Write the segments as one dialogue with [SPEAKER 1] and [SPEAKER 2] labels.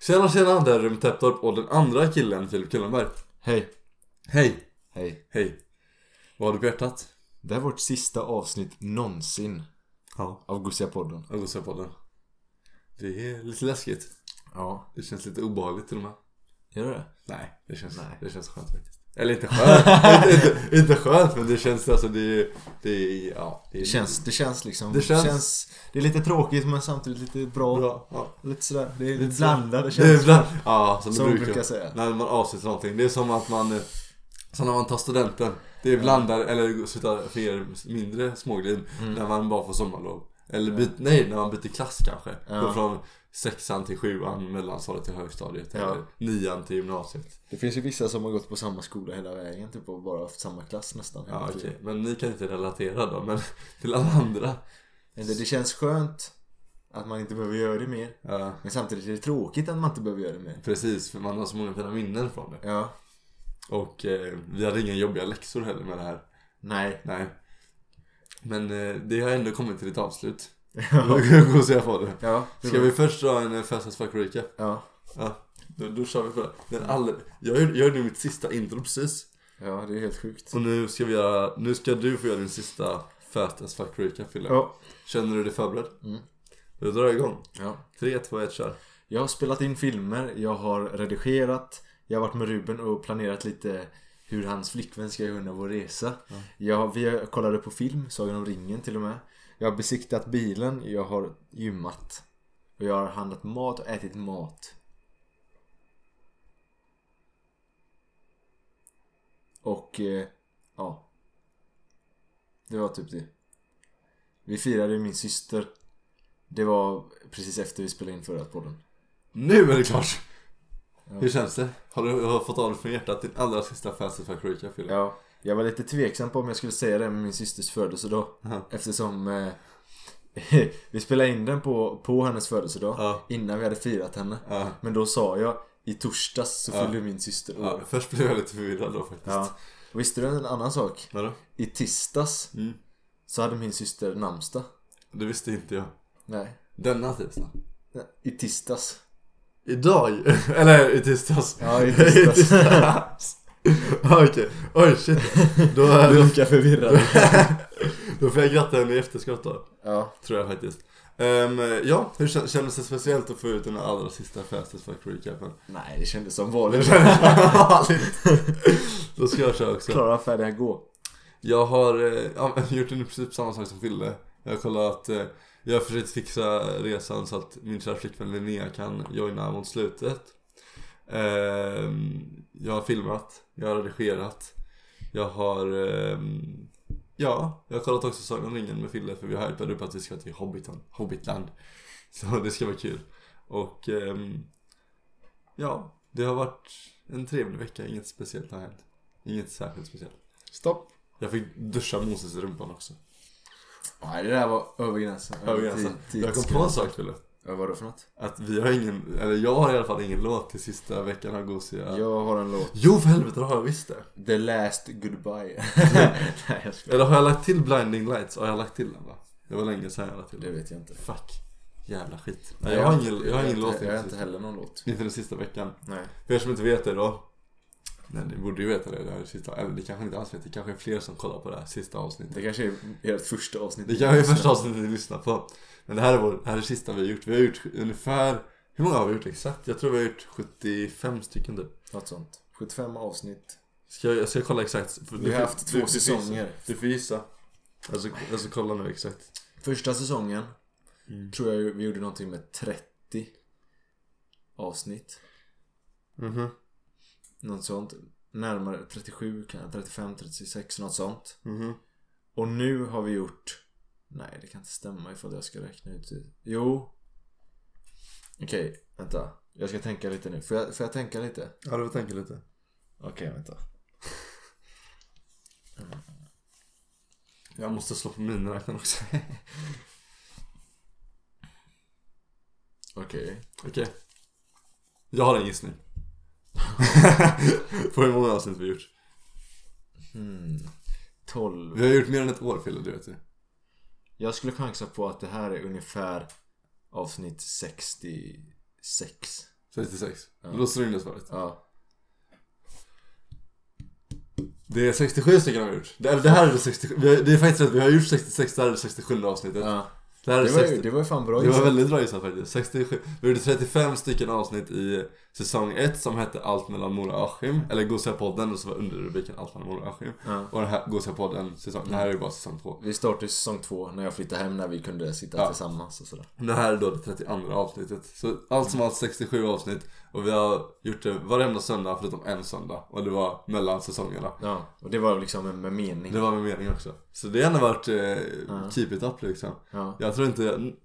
[SPEAKER 1] Tjena tjena, det här är Rumt Täpptorp och den andra killen, Filip Kullenberg.
[SPEAKER 2] Hej,
[SPEAKER 1] Hej!
[SPEAKER 2] hej.
[SPEAKER 1] Hej! Vad har du på hjärtat?
[SPEAKER 2] Det här är vårt sista avsnitt någonsin
[SPEAKER 1] Ja.
[SPEAKER 2] av Gussia-podden.
[SPEAKER 1] Örgosöpodden. Det är lite läskigt.
[SPEAKER 2] Ja.
[SPEAKER 1] Det känns lite obehagligt till och med.
[SPEAKER 2] Gör det det?
[SPEAKER 1] Nej, det känns,
[SPEAKER 2] Nej.
[SPEAKER 1] Det känns skönt faktiskt. Eller inte skönt, inte, inte, inte skönt men det känns alltså det är, det är ja. Det, är
[SPEAKER 2] Det känns, det känns liksom.
[SPEAKER 1] Det känns-
[SPEAKER 2] Det är lite tråkigt men samtidigt lite bra.
[SPEAKER 1] bra. Ja.
[SPEAKER 2] Lite sådär. Det är
[SPEAKER 1] Lite
[SPEAKER 2] lite
[SPEAKER 1] sådär.
[SPEAKER 2] blandade
[SPEAKER 1] Det är
[SPEAKER 2] känslor.
[SPEAKER 1] ibland, ja som,
[SPEAKER 2] Som
[SPEAKER 1] det
[SPEAKER 2] vi
[SPEAKER 1] brukar,
[SPEAKER 2] brukar säga.
[SPEAKER 1] När man avslutar någonting. Det är som att man, eh, som när man tar studenten. Det är blandar, eller slutar för er mindre småglid, när man bara får sommarlov. Eller byt, nej, när man byter klass kanske.
[SPEAKER 2] Ja.
[SPEAKER 1] Går från sexan till sjuan, mellanstadiet till högstadiet.
[SPEAKER 2] Ja.
[SPEAKER 1] Eller nian till gymnasiet.
[SPEAKER 2] Det finns ju vissa som har gått på samma skola hela vägen. Typ och bara haft samma klass nästan. hela
[SPEAKER 1] Ja, okej.
[SPEAKER 2] tiden.
[SPEAKER 1] Men ni kan inte relatera då, men till alla andra.
[SPEAKER 2] Men det, det känns skönt att man inte behöver göra det mer.
[SPEAKER 1] Ja,
[SPEAKER 2] Men samtidigt är det tråkigt att man inte behöver göra det mer.
[SPEAKER 1] precis, för man har så många fina minnen från det.
[SPEAKER 2] Ja.
[SPEAKER 1] Och eh, vi hade inga jobbiga läxor heller med det här.
[SPEAKER 2] Nej.
[SPEAKER 1] Nej. Men eh, det har ändå kommit till ett avslut. Hur går jag på det?
[SPEAKER 2] Ja. det
[SPEAKER 1] Ska
[SPEAKER 2] var-
[SPEAKER 1] vi först dra en eh, fast as fuck recap?
[SPEAKER 2] Ja.
[SPEAKER 1] Ja, då, då kör vi på det. Den all... jag, gjorde- jag gjorde mitt sista intro precis.
[SPEAKER 2] Ja, det är helt sjukt.
[SPEAKER 1] Och nu ska vi göra, nu ska du få göra din sista fast as fuck recap Fille.
[SPEAKER 2] Ja.
[SPEAKER 1] Känner du dig förberedd?
[SPEAKER 2] Mm.
[SPEAKER 1] Då drar jag igång.
[SPEAKER 2] Ja.
[SPEAKER 1] 3, 2, 1, kör.
[SPEAKER 2] Jag har spelat in filmer, jag har redigerat, jag har varit med Ruben och planerat lite hur hans flickvän ska göra under vår resa. Jag, vi kollade på film, Sagan om ringen till och med. Jag har besiktat bilen, jag har gymmat. Och jag har handlat mat och ätit mat. Och eh, ja. Det var typ det. Vi firade min syster. Det var precis efter vi spelade in förra podden.
[SPEAKER 1] Nu är det klart!
[SPEAKER 2] Ja.
[SPEAKER 1] Hur känns det? Har du har du fått av dig från hjärtat din allra sista fast as fuck recap Fille?
[SPEAKER 2] Ja, jag var lite tveksam på om jag skulle säga det med min systers födelsedag.
[SPEAKER 1] Ja.
[SPEAKER 2] Eftersom eh, vi spelade in den på, på hennes födelsedag.
[SPEAKER 1] Ja.
[SPEAKER 2] Innan vi hade firat henne.
[SPEAKER 1] Ja.
[SPEAKER 2] Men då sa jag i torsdags så
[SPEAKER 1] Ja.
[SPEAKER 2] fyllde min syster
[SPEAKER 1] Ja,
[SPEAKER 2] år.
[SPEAKER 1] först blev jag lite förvirrad då faktiskt.
[SPEAKER 2] Ja. Visste du en annan sak?
[SPEAKER 1] Vadå?
[SPEAKER 2] I tisdags
[SPEAKER 1] Mm.
[SPEAKER 2] så hade min syster namnsdag.
[SPEAKER 1] Det visste inte jag.
[SPEAKER 2] Nej.
[SPEAKER 1] Denna tisdag.
[SPEAKER 2] Nej, I tisdags.
[SPEAKER 1] Idag? Eller i tisdags?
[SPEAKER 2] Ja, i tisdags.
[SPEAKER 1] tisdags. Ja, Okej, oj shit. Då,
[SPEAKER 2] Du verkar förvirrad.
[SPEAKER 1] då får jag gratta henne i efterskott då.
[SPEAKER 2] ja.
[SPEAKER 1] Tror jag faktiskt. Ehm, ja, hur kän- kändes det speciellt att få ut den här allra sista Fastest Fuck Recapen?
[SPEAKER 2] Nej, det kändes som vanligt.
[SPEAKER 1] Då ska jag köra också.
[SPEAKER 2] Klara, färdiga, gå.
[SPEAKER 1] Jag har eh, ja, gjort i princip samma sak som Fille. Jag har kollat, eh, jag har försökt fixa resan så att min kära flickvän Linnea kan joina mot slutet. Ehm, jag har filmat, jag har redigerat. Jag har, ehm, ja, jag har kollat också Sagan om ringen med Fille för vi har hypat upp att vi ska till Hobbiton, Hobbitland. Så det ska vara kul. Och ehm, ja, det har varit en trevlig vecka, inget speciellt har hänt. Inget särskilt speciellt.
[SPEAKER 2] Stopp.
[SPEAKER 1] Jag fick duscha Moses i rumpan också. Typ
[SPEAKER 2] Nej, det där var över gränsen.
[SPEAKER 1] Över gränsen.
[SPEAKER 2] Tid-
[SPEAKER 1] alltså, Jag kom på en sak Fille.
[SPEAKER 2] Ja, Vad var det för något?
[SPEAKER 1] Att vi har ingen, eller jag har i alla fall ingen låt till sista veckan av gosiga.
[SPEAKER 2] Jag har en låt.
[SPEAKER 1] Jo för helvete, det har jag visst det.
[SPEAKER 2] The last goodbye. Nej, jag skojar.
[SPEAKER 1] Eller har jag lagt till Blinding Lights? Har jag lagt till den va? Det var länge sedan jag lagt till
[SPEAKER 2] Det
[SPEAKER 1] den.
[SPEAKER 2] vet jag inte.
[SPEAKER 1] Fuck. Jävla skit. Nej, jag har ingen, jag har ingen låt
[SPEAKER 2] Jag
[SPEAKER 1] till
[SPEAKER 2] har inte
[SPEAKER 1] sista-
[SPEAKER 2] heller någon låt.
[SPEAKER 1] inte den sista veckan.
[SPEAKER 2] Nej.
[SPEAKER 1] För er som inte vet det då. Nej, ni borde ju veta det. det här sista, eller ni kanske inte alls vet. Det kanske är fler som kollar på det här sista avsnittet.
[SPEAKER 2] Det kanske är ert första avsnitt.
[SPEAKER 1] Det kanske är första avsnittet ni lyssnar på. Men det här är, vår, det här är det sista vi har gjort. Vi har gjort ungefär, hur många har vi gjort exakt? Jag tror vi har gjort 75 stycken typ.
[SPEAKER 2] Något sånt. 75 avsnitt.
[SPEAKER 1] Ska jag, jag ska kolla exakt. För
[SPEAKER 2] Vi
[SPEAKER 1] du
[SPEAKER 2] har
[SPEAKER 1] får-
[SPEAKER 2] haft två
[SPEAKER 1] du- du får gissa.
[SPEAKER 2] säsonger.
[SPEAKER 1] Du får gissa. Alltså, alltså kolla nu exakt.
[SPEAKER 2] Första säsongen tror jag vi gjorde någonting med 30 avsnitt.
[SPEAKER 1] Mhm.
[SPEAKER 2] Något sånt. Närmare 37, kan- 35, 36, något sånt.
[SPEAKER 1] Mhm.
[SPEAKER 2] Och nu har vi gjort... Nej, det kan inte stämma ifall jag ska räkna ut det. Jo. Okej, vänta. Jag ska tänka lite nu. Får jag, får jag tänka lite?
[SPEAKER 1] Ja, du får tänka lite.
[SPEAKER 2] Okej, vänta.
[SPEAKER 1] Jag måste slå på miniräknaren också.
[SPEAKER 2] Okej.
[SPEAKER 1] Okej. Jag har en gissning. på hur många avsnitt vi har gjort.
[SPEAKER 2] Hmm. 12.
[SPEAKER 1] Vi har gjort mer än ett år Fille, du vet ju.
[SPEAKER 2] Jag skulle chansa på att det här är ungefär avsnitt 66.
[SPEAKER 1] 66.
[SPEAKER 2] Ja.
[SPEAKER 1] Låser du in det svaret?
[SPEAKER 2] Ja.
[SPEAKER 1] Det är 67 stycken har vi gjort. Det, det här är det 67. Vi har, det är faktiskt rätt, vi har gjort 66, det här är det 67 avsnittet.
[SPEAKER 2] ja.
[SPEAKER 1] Det här är
[SPEAKER 2] Det, var
[SPEAKER 1] 60.
[SPEAKER 2] ju, det var ju fan bra
[SPEAKER 1] Det var
[SPEAKER 2] gissat.
[SPEAKER 1] väldigt bra gissat faktiskt. 67. Vi gjorde 35 stycken avsnitt i säsong 1 som hette Allt mellan Mora och Askim. Eller Gosiga-podden och så var underrubriken Allt mellan Mora och Askim.
[SPEAKER 2] Ja. Mm.
[SPEAKER 1] Och den här Gosiga-podden, säsong, det här är ju bara säsong 2.
[SPEAKER 2] Vi startade säsong två när jag flyttade hem när vi kunde sitta
[SPEAKER 1] Ja.
[SPEAKER 2] tillsammans och sådär.
[SPEAKER 1] Det här är då det 32 avsnittet. Så allt som allt 67 avsnitt. Och vi har gjort det varenda söndag förutom en söndag. Och det var mellan säsongerna.
[SPEAKER 2] Ja, och det var liksom med, med mening.
[SPEAKER 1] Det var med mening också. Så det har ändå varit eh, keep it up liksom.
[SPEAKER 2] Ja.
[SPEAKER 1] Jag tror inte, n-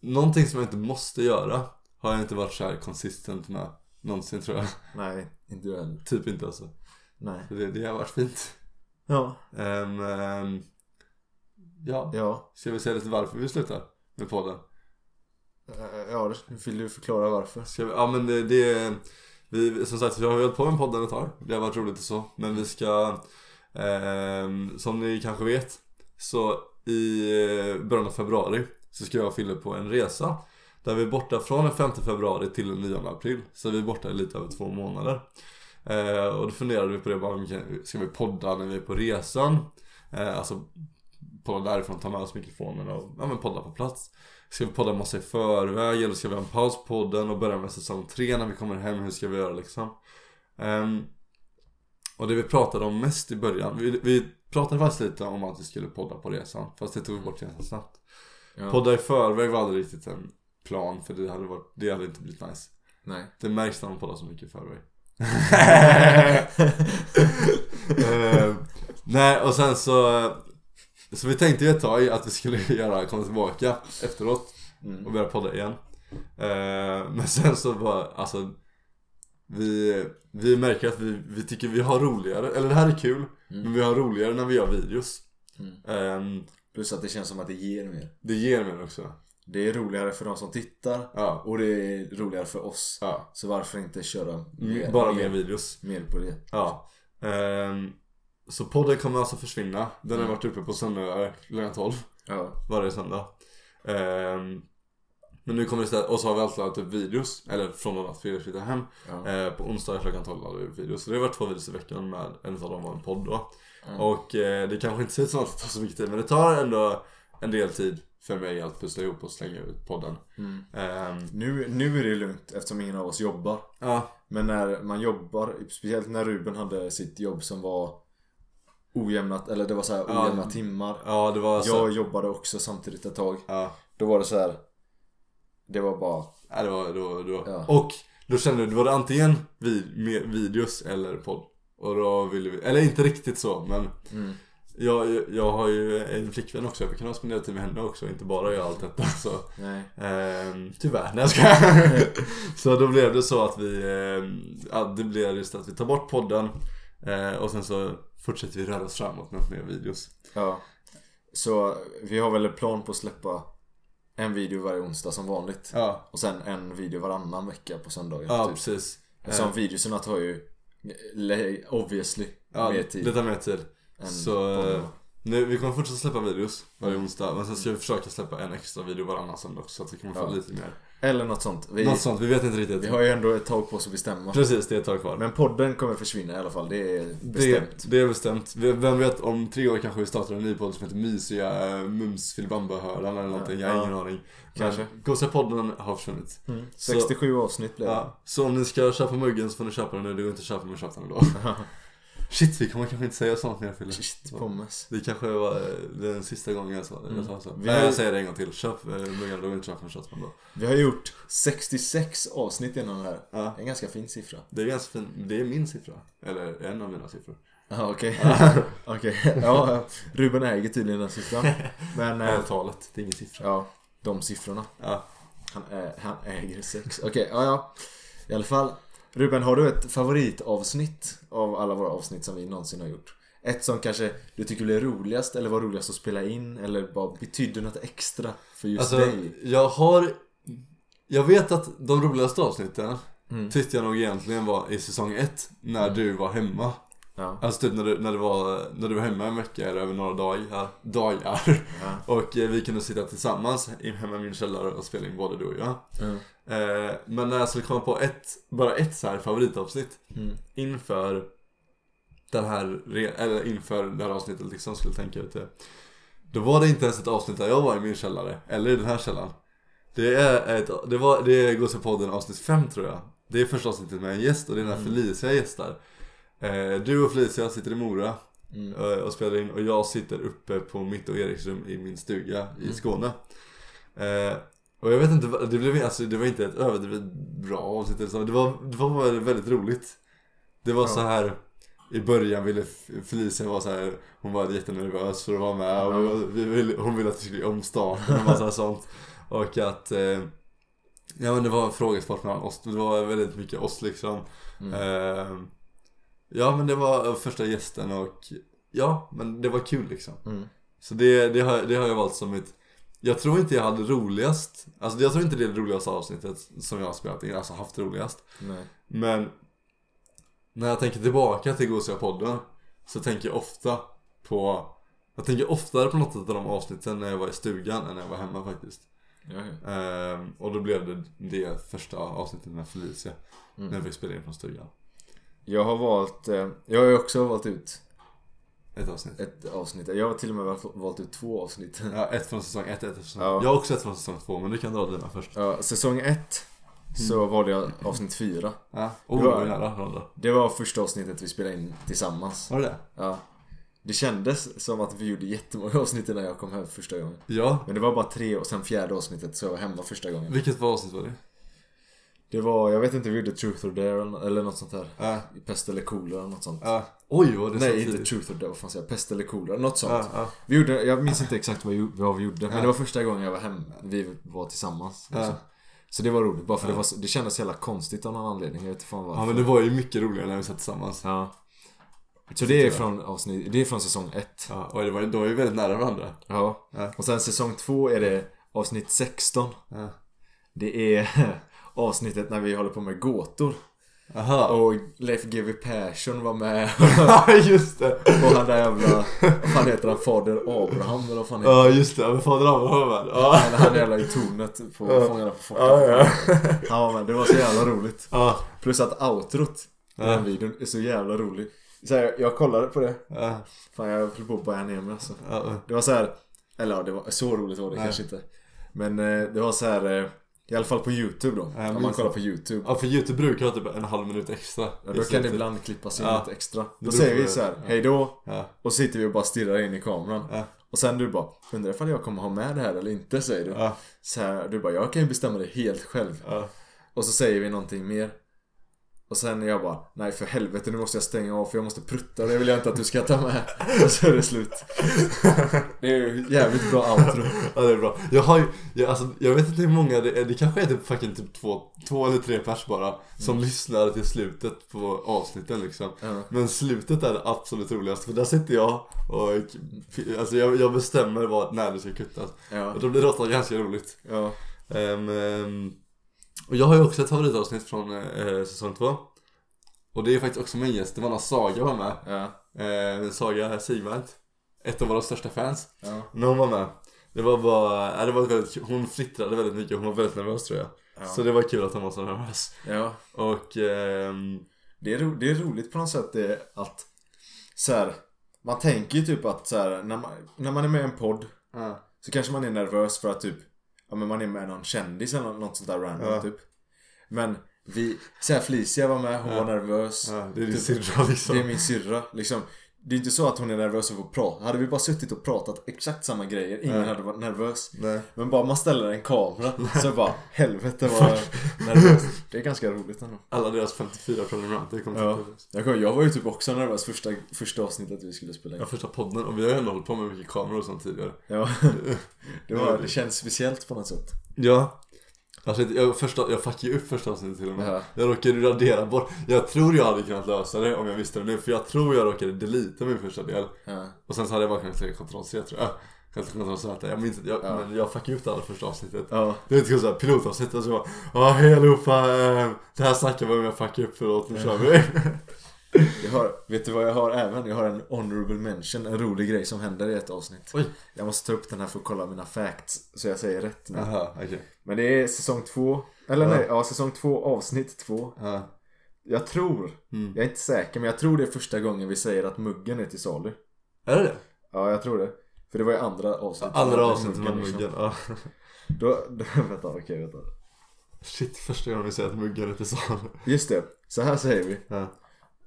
[SPEAKER 1] någonting som jag inte måste göra har jag inte varit så här consistent med någonsin tror jag.
[SPEAKER 2] Nej, inte du heller.
[SPEAKER 1] Typ inte alltså.
[SPEAKER 2] Nej.
[SPEAKER 1] Så Det, det har varit fint.
[SPEAKER 2] Ja.
[SPEAKER 1] Ehm, ehm, ja.
[SPEAKER 2] Ja.
[SPEAKER 1] Ska vi säga lite varför vi slutar med podden?
[SPEAKER 2] Eh, Ja, det- vill du förklara varför?
[SPEAKER 1] Ska vi, ja men det, det vi, som sagt vi har ju hållit på med podden ett tag. Det har varit roligt och så. Men vi ska, ehm, som ni kanske vet, så i eh, början av februari så ska jag och Fille på en resa. Där vi är borta från den 5 februari till den 9 april. Så vi är borta i lite över två månader. Eh, och då funderade vi på det, bara, kan- ska vi podda när vi är på resan? Eh, alltså podda därifrån, ta med oss mikrofonerna och ja, men podda på plats. Ska vi podda massa i förväg eller ska vi ha en paus på podden och börja med säsong 3 när vi kommer hem? Hur ska vi göra liksom? Ehm, och det vi pratade om mest i början, vi, vi pratade faktiskt lite om att vi skulle podda på resan. Fast det tog vi bort ganska snabbt.
[SPEAKER 2] Ja.
[SPEAKER 1] Podda i förväg var aldrig riktigt en plan för det hade, varit, det hade inte blivit nice.
[SPEAKER 2] Nej.
[SPEAKER 1] Det märks när man poddar så mycket i förväg. Ehm, nej och sen så Så vi tänkte ju ett tag att vi skulle göra komma tillbaka efteråt
[SPEAKER 2] Mm.
[SPEAKER 1] och börja podda igen Ehm, Men sen så bara alltså Vi, vi märker att vi, vi tycker vi har roligare, eller det här är kul
[SPEAKER 2] Mm.
[SPEAKER 1] Men vi har roligare när vi gör videos
[SPEAKER 2] Mm.
[SPEAKER 1] Ehm,
[SPEAKER 2] Plus att det känns som att det ger mer.
[SPEAKER 1] Det ger mer också
[SPEAKER 2] Det är roligare för de som tittar
[SPEAKER 1] Ja,
[SPEAKER 2] och det är roligare för oss.
[SPEAKER 1] ja.
[SPEAKER 2] Så varför inte köra mer,
[SPEAKER 1] Mm, Bara mer
[SPEAKER 2] mer,
[SPEAKER 1] videos
[SPEAKER 2] mer på det?
[SPEAKER 1] Ja. Ehm, så podden kommer alltså försvinna. Den
[SPEAKER 2] Mm.
[SPEAKER 1] har varit uppe på söndagar klockan 12
[SPEAKER 2] Ja.
[SPEAKER 1] varje söndag. Ehm, men nu kommer det istället, och så har vi alltid lagt upp videos, eller från och med att vi flyttar hem.
[SPEAKER 2] ja.
[SPEAKER 1] Eh, på onsdagar klockan 12 hade vi upp videos. Så det har varit två videos i veckan med, en av dem var en podd då.
[SPEAKER 2] Mm.
[SPEAKER 1] Och eh, det kanske inte ser ut som att det tar så mycket tid, men det tar ändå en del tid för mig att pussla ihop och slänga ut podden.
[SPEAKER 2] Mm.
[SPEAKER 1] Ehm,
[SPEAKER 2] Nu, nu är det lugnt eftersom ingen av oss jobbar.
[SPEAKER 1] ja,
[SPEAKER 2] Men när man jobbar, speciellt när Ruben hade sitt jobb som var ojämnat, eller det var så här
[SPEAKER 1] Ja.
[SPEAKER 2] ojämna timmar.
[SPEAKER 1] ja, alltså- det var så.
[SPEAKER 2] Jag jobbade också samtidigt ett tag.
[SPEAKER 1] Ja.
[SPEAKER 2] Då var det så här. Det var bara,
[SPEAKER 1] Ja, det var, det var, det var.
[SPEAKER 2] Ja.
[SPEAKER 1] Och då kände du, var det antingen vid, med videos eller podd. Och då ville vi, eller inte riktigt så men
[SPEAKER 2] Mm.
[SPEAKER 1] jag, jag, jag har ju en flickvän också, jag kan ha spenderat tid med henne också, inte bara göra allt detta så
[SPEAKER 2] nej.
[SPEAKER 1] ehm, Tyvärr, nej jag skojar. Så då blev det så att vi, ehm, ja, det blev just att vi tar bort podden eh, och sen så fortsätter vi röra oss framåt med mer videos
[SPEAKER 2] Ja. Så vi har väl en plan på att släppa en video varje onsdag som vanligt.
[SPEAKER 1] Ja,
[SPEAKER 2] Och sen en video varannan vecka på söndagar.
[SPEAKER 1] ja
[SPEAKER 2] typ.
[SPEAKER 1] precis Eh.
[SPEAKER 2] Eftersom videorna tar ju le- obviously
[SPEAKER 1] ja,
[SPEAKER 2] mer tid.
[SPEAKER 1] Det tar mer tid
[SPEAKER 2] än
[SPEAKER 1] Så
[SPEAKER 2] podden.
[SPEAKER 1] eh, nu, vi kommer fortsätta släppa videos varje
[SPEAKER 2] Mm.
[SPEAKER 1] onsdag Men sen ska vi försöka släppa en extra video varannan söndag också Så att vi kommer få
[SPEAKER 2] Ja.
[SPEAKER 1] lite mer
[SPEAKER 2] Eller något sånt. Vi,
[SPEAKER 1] Något sånt, vi vet inte riktigt
[SPEAKER 2] vi har ju ändå ett tag på oss att bestämma.
[SPEAKER 1] Precis, det är ett tag kvar
[SPEAKER 2] Men podden kommer försvinna i alla fall. Det är bestämt.
[SPEAKER 1] det, det är bestämt Vi- Vem vet, om tre år kanske vi startar en ny podd som heter Mysiga äh, Mums Filbamba-hörnan eller någonting Jag har ingen aning
[SPEAKER 2] Kanske.
[SPEAKER 1] Gosia-podden har försvunnit
[SPEAKER 2] Mm.
[SPEAKER 1] Så-
[SPEAKER 2] 67 avsnitt blev det.
[SPEAKER 1] ja. Så om ni ska köpa muggen så får ni köpa den nu Det går inte att köpa med köpa den ändå Shit, vi kommer kanske inte säga sånt när jag fyller
[SPEAKER 2] Shit, pommes.
[SPEAKER 1] Det kanske var eh, den sista gången jag sa det. Jag, sa så.
[SPEAKER 2] Vi
[SPEAKER 1] Nej,
[SPEAKER 2] har-
[SPEAKER 1] jag säger det en gång till. Köp eh, muggar, då inte köp en shotman då.
[SPEAKER 2] Vi har gjort 66 avsnitt innan det här.
[SPEAKER 1] Ja.
[SPEAKER 2] En ganska fin siffra.
[SPEAKER 1] Det är ganska fin. Det är min siffra. Eller en av mina siffror.
[SPEAKER 2] Ja, okej. Okej. Ja, Ruben äger tydligen den siffran. Men, eh,
[SPEAKER 1] talet. Det är ingen siffra.
[SPEAKER 2] ja, de siffrorna.
[SPEAKER 1] Ja.
[SPEAKER 2] Han, ä- han äger sex. Okej, ja, ja. I alla fall. Ruben, har du ett favoritavsnitt av alla våra avsnitt som vi någonsin har gjort? Ett som kanske du tycker blev roligast eller var roligast att spela in eller bara betydde något extra för just
[SPEAKER 1] Alltså,
[SPEAKER 2] dig?
[SPEAKER 1] jag har... Jag vet att de roligaste avsnitten tyckte jag nog egentligen var i säsong 1. När du var hemma.
[SPEAKER 2] Ja.
[SPEAKER 1] Alltså typ när du, när, du var, när du var hemma en vecka eller över några dagar, dagar.
[SPEAKER 2] Ja.
[SPEAKER 1] Och eh, vi kunde sitta tillsammans i- hemma i min källare och spela in både du och jag
[SPEAKER 2] Mm.
[SPEAKER 1] Eh, men när jag skulle komma på ett, bara ett så här favoritavsnitt
[SPEAKER 2] Mm.
[SPEAKER 1] inför den här, re- eller inför det här avsnittet liksom skulle tänka ut det. Då var det inte ens ett avsnitt där jag var i min källare, eller i den här källan. Det är ett, det var, det är Gåsepodden avsnitt 5 tror jag. Det är första avsnittet med en gäst och det är
[SPEAKER 2] Mm.
[SPEAKER 1] när Felicia gästar. Eh, du och Felicia sitter i Mora
[SPEAKER 2] Mm.
[SPEAKER 1] eh, och spelar in och jag sitter uppe på mitt och Eriks rum i min stuga
[SPEAKER 2] Mm.
[SPEAKER 1] i Skåne. Eh, och jag vet inte, vad- det, blev, alltså, det var inte ett överdrivet bra avsnitt eller så, det var, det var bara väldigt roligt. Det var
[SPEAKER 2] Ja.
[SPEAKER 1] så här i början ville F- Felicia vara så här, hon var jättenervös för att vara med och vi var- vi ville, hon ville att vi skulle göra om starten och massa sånt. Och att eh, Ja men det var en frågesport mellan oss, det var väldigt mycket oss liksom
[SPEAKER 2] Mm.
[SPEAKER 1] Ehm, Ja men det var första gästen och Ja men det var kul liksom
[SPEAKER 2] Mm.
[SPEAKER 1] Så det, det, har, det har jag valt som mitt Jag tror inte jag hade roligast Alltså jag tror inte det är det roligaste avsnittet som jag har spelat in, alltså haft roligast
[SPEAKER 2] Nej.
[SPEAKER 1] Men När jag tänker tillbaka till Gosiga podden Så tänker jag ofta på Jag tänker oftare på något av de avsnitten när jag var i stugan än när jag var hemma faktiskt
[SPEAKER 2] Ja, ja.
[SPEAKER 1] Ehm, och då blev det det första avsnittet med Felicia. När vi spelade in från stugan.
[SPEAKER 2] Jag har valt, eh, jag har ju också valt ut
[SPEAKER 1] Ett avsnitt.
[SPEAKER 2] ett avsnitt. Jag har till och med valt- valt ut två avsnitt.
[SPEAKER 1] Ja, ett från säsong ett, ett från säsong
[SPEAKER 2] Ja.
[SPEAKER 1] Jag har också ett från säsong två men du kan dra dina först.
[SPEAKER 2] Ja, säsong ett så valde jag avsnitt fyra.
[SPEAKER 1] Ja. Oh,
[SPEAKER 2] Bra.
[SPEAKER 1] vi var nära varandra.
[SPEAKER 2] Det var första avsnittet vi spelade in tillsammans.
[SPEAKER 1] Var det det?
[SPEAKER 2] Ja. Det kändes som att vi gjorde jättemånga avsnitt innan jag kom hem första gången.
[SPEAKER 1] Ja.
[SPEAKER 2] Men det var bara tre och sen fjärde avsnittet så jag var hemma första gången.
[SPEAKER 1] Vilket var avsnitt var det?
[SPEAKER 2] Det var, jag vet inte, vi gjorde Truth or Dare eller- eller något sånt där.
[SPEAKER 1] Ja.
[SPEAKER 2] Pest eller kolera eller något sånt.
[SPEAKER 1] Ja. Oj vad det
[SPEAKER 2] Nej,
[SPEAKER 1] så
[SPEAKER 2] inte
[SPEAKER 1] tidigt.
[SPEAKER 2] Truth or Dare, vad fan säger jag? Pest eller kolera, något sånt.
[SPEAKER 1] Ja, ja.
[SPEAKER 2] Vi gjorde, jag minns inte exakt vad, vi gjorde- vad vi gjorde, men
[SPEAKER 1] Ja.
[SPEAKER 2] det var första gången jag var hem, vi var tillsammans.
[SPEAKER 1] Ja.
[SPEAKER 2] liksom. Så det var roligt, bara för det, var, så- det kändes så jävla konstigt av någon anledning. Jag vet inte fan varför.
[SPEAKER 1] ja men det var ju mycket roligare när vi satt tillsammans.
[SPEAKER 2] Ja. Så det är från avsnitt, det är från säsong 1.
[SPEAKER 1] Ja. Oj det var, ju- då var vi väldigt nära varandra.
[SPEAKER 2] Ja.
[SPEAKER 1] Ja.
[SPEAKER 2] Och sen säsong 2 är det avsnitt 16.
[SPEAKER 1] Ja.
[SPEAKER 2] Det är avsnittet när vi håller på med gåtor.
[SPEAKER 1] Aha.
[SPEAKER 2] Och Leif GW Persson var med.
[SPEAKER 1] Ja just det.
[SPEAKER 2] Och han där jävla, vad fan heter han? Fader Abraham eller vad fan heter han?
[SPEAKER 1] Ja just det. Ja, Men fader Abraham var med. Ja.
[SPEAKER 2] Eller han jävla i tornet på Fångarna på fortet.
[SPEAKER 1] Ja ja.
[SPEAKER 2] Ja men det var så jävla roligt.
[SPEAKER 1] Ja.
[SPEAKER 2] Plus att outrot i den
[SPEAKER 1] Ja.
[SPEAKER 2] videon är så jävla rolig. Så här, jag kollade på det.
[SPEAKER 1] Ja.
[SPEAKER 2] Fan jag höll på att börja ner mig alltså.
[SPEAKER 1] Ja.
[SPEAKER 2] Det var så här, eller ja, det var, så roligt var det kanske inte. Men eh, det var så här, eh, i alla fall på YouTube då.
[SPEAKER 1] jag
[SPEAKER 2] Om man
[SPEAKER 1] minns
[SPEAKER 2] kollar
[SPEAKER 1] det.
[SPEAKER 2] på YouTube.
[SPEAKER 1] Ja för Youtube brukar ha typ en halv minut extra.
[SPEAKER 2] Ja, då kan det ibland klippas in
[SPEAKER 1] Ja.
[SPEAKER 2] lite extra. Då
[SPEAKER 1] beror
[SPEAKER 2] säger
[SPEAKER 1] på
[SPEAKER 2] vi
[SPEAKER 1] det.
[SPEAKER 2] så här, hej då.
[SPEAKER 1] Ja.
[SPEAKER 2] Och så sitter vi och bara stirrar in i kameran.
[SPEAKER 1] Ja.
[SPEAKER 2] Och sen du bara, undrar ifall jag kommer ha med det här eller inte säger du.
[SPEAKER 1] Ja.
[SPEAKER 2] Så här, du bara, jag kan ju bestämma det helt själv.
[SPEAKER 1] Ja.
[SPEAKER 2] Och så säger vi någonting mer. Och sen är jag bara, nej för helvete nu måste jag stänga av för jag måste prutta. Det vill jag inte att du ska ta med. Och så är det slut. Det är ju jävligt bra outro.
[SPEAKER 1] Ja det är bra. Jag har ju, jag, alltså, jag vet inte hur många det är, det kanske är typ fucking typ två, två eller tre pers bara Som lyssnar till slutet på avsnitten liksom
[SPEAKER 2] Ja.
[SPEAKER 1] Men slutet är det absolut roligaste för där sitter jag och alltså, jag, jag bestämmer vad, när det ska kuttas
[SPEAKER 2] Ja.
[SPEAKER 1] Och då blir det ofta ganska roligt
[SPEAKER 2] Ja.
[SPEAKER 1] Ehm, ehm, Och jag har ju också ett favoritavsnitt från eh, säsong två Och det är faktiskt också med en gäst, det var när Saga var med
[SPEAKER 2] Ja.
[SPEAKER 1] eh, Saga Sigvart Ett av våra största fans
[SPEAKER 2] Ja.
[SPEAKER 1] när hon var med Det var bara, ja, det var väldigt kul. hon flittrade väldigt mycket, hon var väldigt nervös tror jag
[SPEAKER 2] Ja.
[SPEAKER 1] Så det var kul att hon var så nervös
[SPEAKER 2] ja.
[SPEAKER 1] Och, ehm,
[SPEAKER 2] Det, är ro, det är roligt på något sätt det att så här, man tänker ju typ att så här, när, man, när man är med i en podd
[SPEAKER 1] ja,
[SPEAKER 2] så kanske man är nervös för att typ ja, men man är med någon kändis eller något sånt där random
[SPEAKER 1] Ja.
[SPEAKER 2] typ. Men vi, så här, Felicia var med, hon var nervös. Typ,
[SPEAKER 1] ja, det är din syrra liksom
[SPEAKER 2] Det är min syrra. Liksom, det är inte så att hon är nervös över att prata. Hade vi bara suttit och pratat exakt samma grejer, ingen
[SPEAKER 1] Ja.
[SPEAKER 2] hade varit nervös.
[SPEAKER 1] Nej.
[SPEAKER 2] Men bara man ställer en kamera så bara helvete vad nervös. Det är ganska roligt ändå.
[SPEAKER 1] Alla deras 54 prenumeranter kommer
[SPEAKER 2] Ja.
[SPEAKER 1] till oss
[SPEAKER 2] Jag, kommer, jag var ju typ också nervös första, första avsnittet vi skulle spela in.
[SPEAKER 1] Ja, första podden och vi har ju ändå hållit på med mycket kameror och sånt tidigare
[SPEAKER 2] Ja. Det, var, det känns speciellt på något sätt.
[SPEAKER 1] Ja Alltså, jag, första, jag fuckade ju upp första avsnittet till och med
[SPEAKER 2] Ja.
[SPEAKER 1] Jag råkade ju radera bort Jag tror jag hade kunnat lösa det om jag visste det nu För jag tror jag råkade deleta min första del
[SPEAKER 2] Ja.
[SPEAKER 1] Och sen så hade jag bara kunnat säga Ctrl-C tror jag Ctrl-Z, jag minns inte, jag,
[SPEAKER 2] Ja.
[SPEAKER 1] men jag fuckade upp det allra första avsnittet
[SPEAKER 2] Ja.
[SPEAKER 1] Det är inte såhär pilotavsnitt och så bara Ja hej allihopa, eh, det här snackar vi om jag fuckar upp förlåt nu kör vi
[SPEAKER 2] Jag har, vet du vad jag har även? Jag har en honorable mention, en rolig grej som händer i ett avsnitt.
[SPEAKER 1] Oj.
[SPEAKER 2] Jag måste ta upp den här för att kolla mina facts så jag säger rätt nu.
[SPEAKER 1] Jaha, okej.
[SPEAKER 2] Men det är säsong två, eller
[SPEAKER 1] Ja.
[SPEAKER 2] nej, ja säsong två avsnitt två.
[SPEAKER 1] Ja.
[SPEAKER 2] Jag tror,
[SPEAKER 1] Mm.
[SPEAKER 2] jag är inte säker men jag tror det är första gången vi säger att muggen är till salu.
[SPEAKER 1] Är det det?
[SPEAKER 2] Ja, jag tror det. För det var ju andra avsnittet.
[SPEAKER 1] Andra avsnittet med
[SPEAKER 2] liksom.
[SPEAKER 1] muggen. Ja.
[SPEAKER 2] Då, då, vänta, okej vänta.
[SPEAKER 1] Shit, första gången vi säger att muggar är till salu.
[SPEAKER 2] Just det, så här säger vi.
[SPEAKER 1] Ja.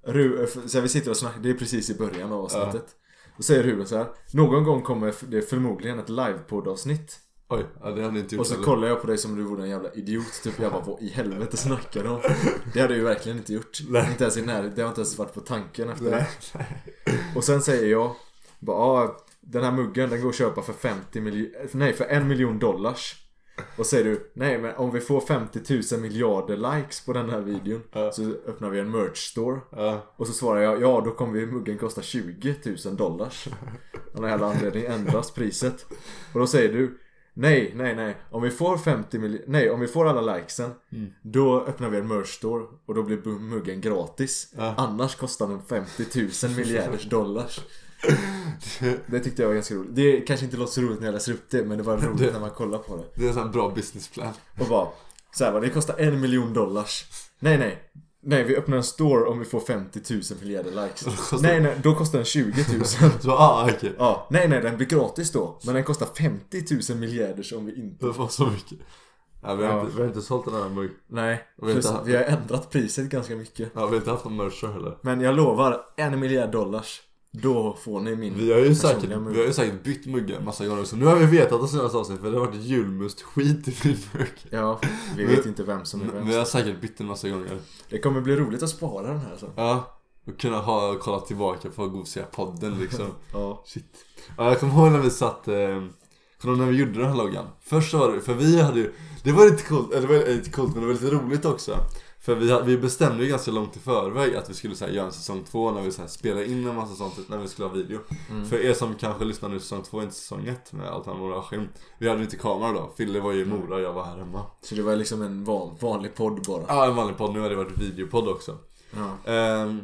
[SPEAKER 2] Ru, så här, vi sitter och snackar, det är precis i början av avsnittet. Då säger Ruben så här. Någon gång kommer det förmodligen ett livepoddavsnitt.
[SPEAKER 1] Oj, ja, det hade ni inte gjort
[SPEAKER 2] Och så
[SPEAKER 1] heller.
[SPEAKER 2] kollar jag på dig som om du vore en jävla idiot. Typ jag bara, vad i helvete snackar du om? Det hade jag ju verkligen inte gjort.
[SPEAKER 1] Nej.
[SPEAKER 2] Inte ens i närheten, det har inte ens varit på tanken efter det.
[SPEAKER 1] Nej, nej.
[SPEAKER 2] Och sen säger jag bara, ah, den här muggen den går att köpa för 50 miljoner, nej för en miljon dollars. Och säger du, nej men om vi får 50 000 miljarder likes på den här videon
[SPEAKER 1] Ja.
[SPEAKER 2] så öppnar vi en merch store.
[SPEAKER 1] Ja.
[SPEAKER 2] Och så svarar jag, ja då kommer ju muggen kosta 20 000 dollars. Av någon jävla anledning ändras priset. Och då säger du, nej, nej, nej. Om vi får 50 mil- nej, om vi får alla likesen. Då öppnar vi en merch store och då blir bu- muggen gratis.
[SPEAKER 1] Ja.
[SPEAKER 2] Annars kostar den 50 000 miljarders dollars. Det tyckte jag var ganska roligt. Det kanske inte låter så roligt när jag läser upp det, men det var roligt
[SPEAKER 1] Det-
[SPEAKER 2] när man kollar på det.
[SPEAKER 1] Det är en sån här bra businessplan.
[SPEAKER 2] Och bara, så här bara, det kostar en miljon dollars. Nej, nej. Nej, vi öppnar en store om vi får 50 000 miljarder likes.
[SPEAKER 1] kostar-
[SPEAKER 2] Nej, nej, då kostar den 20 000.
[SPEAKER 1] Så, ah, okej.
[SPEAKER 2] Ja, nej, nej, den blir gratis då. Men den kostar 50 000 miljarders om vi inte...
[SPEAKER 1] Det var så mycket. Ja, vi, har
[SPEAKER 2] Ja.
[SPEAKER 1] inte, vi har inte sålt den här muggen.
[SPEAKER 2] Nej,
[SPEAKER 1] Och vi har
[SPEAKER 2] plus,
[SPEAKER 1] inte-
[SPEAKER 2] vi har ändrat priset ganska mycket.
[SPEAKER 1] Ja, vi har inte haft någon merch heller.
[SPEAKER 2] Men jag lovar, en miljard dollars. Då får ni min...
[SPEAKER 1] Vi har, ju
[SPEAKER 2] Personliga
[SPEAKER 1] säkert,
[SPEAKER 2] mugg.
[SPEAKER 1] vi har ju säkert bytt muggar massa gånger också. Nu har vi vetat det senaste avsnittet för det har varit julmust-skit i min mugg.
[SPEAKER 2] Ja, vi vet inte vem som är
[SPEAKER 1] Men
[SPEAKER 2] vem.
[SPEAKER 1] Vi har säkert bytt den massa gånger.
[SPEAKER 2] Det kommer bli roligt att spara den här sen.
[SPEAKER 1] Ja. Och kunna ha kollat tillbaka på gosiga podden liksom.
[SPEAKER 2] Ja.
[SPEAKER 1] Shit. Ja, jag kommer ihåg när vi satt, eh, kommer du ihåg när vi gjorde den här loggan? Först så var det, för vi hade ju, det var lite coolt, eller det var lite coolt men det var lite roligt också. För vi, hade- vi bestämde ju ganska långt i förväg att vi skulle så här, göra en säsong två när vi så här, spelade in en massa sånt när vi skulle ha video. För er som kanske lyssnar nu säsong två, inte säsong ett med allt han och skämt. Vi hade ju inte kamera då, Fille var ju i Mora och jag var här hemma.
[SPEAKER 2] Så det var liksom en van, vanlig podd bara.
[SPEAKER 1] Ja, en vanlig podd, nu har det varit videopodd också.
[SPEAKER 2] Ja.
[SPEAKER 1] Ehm,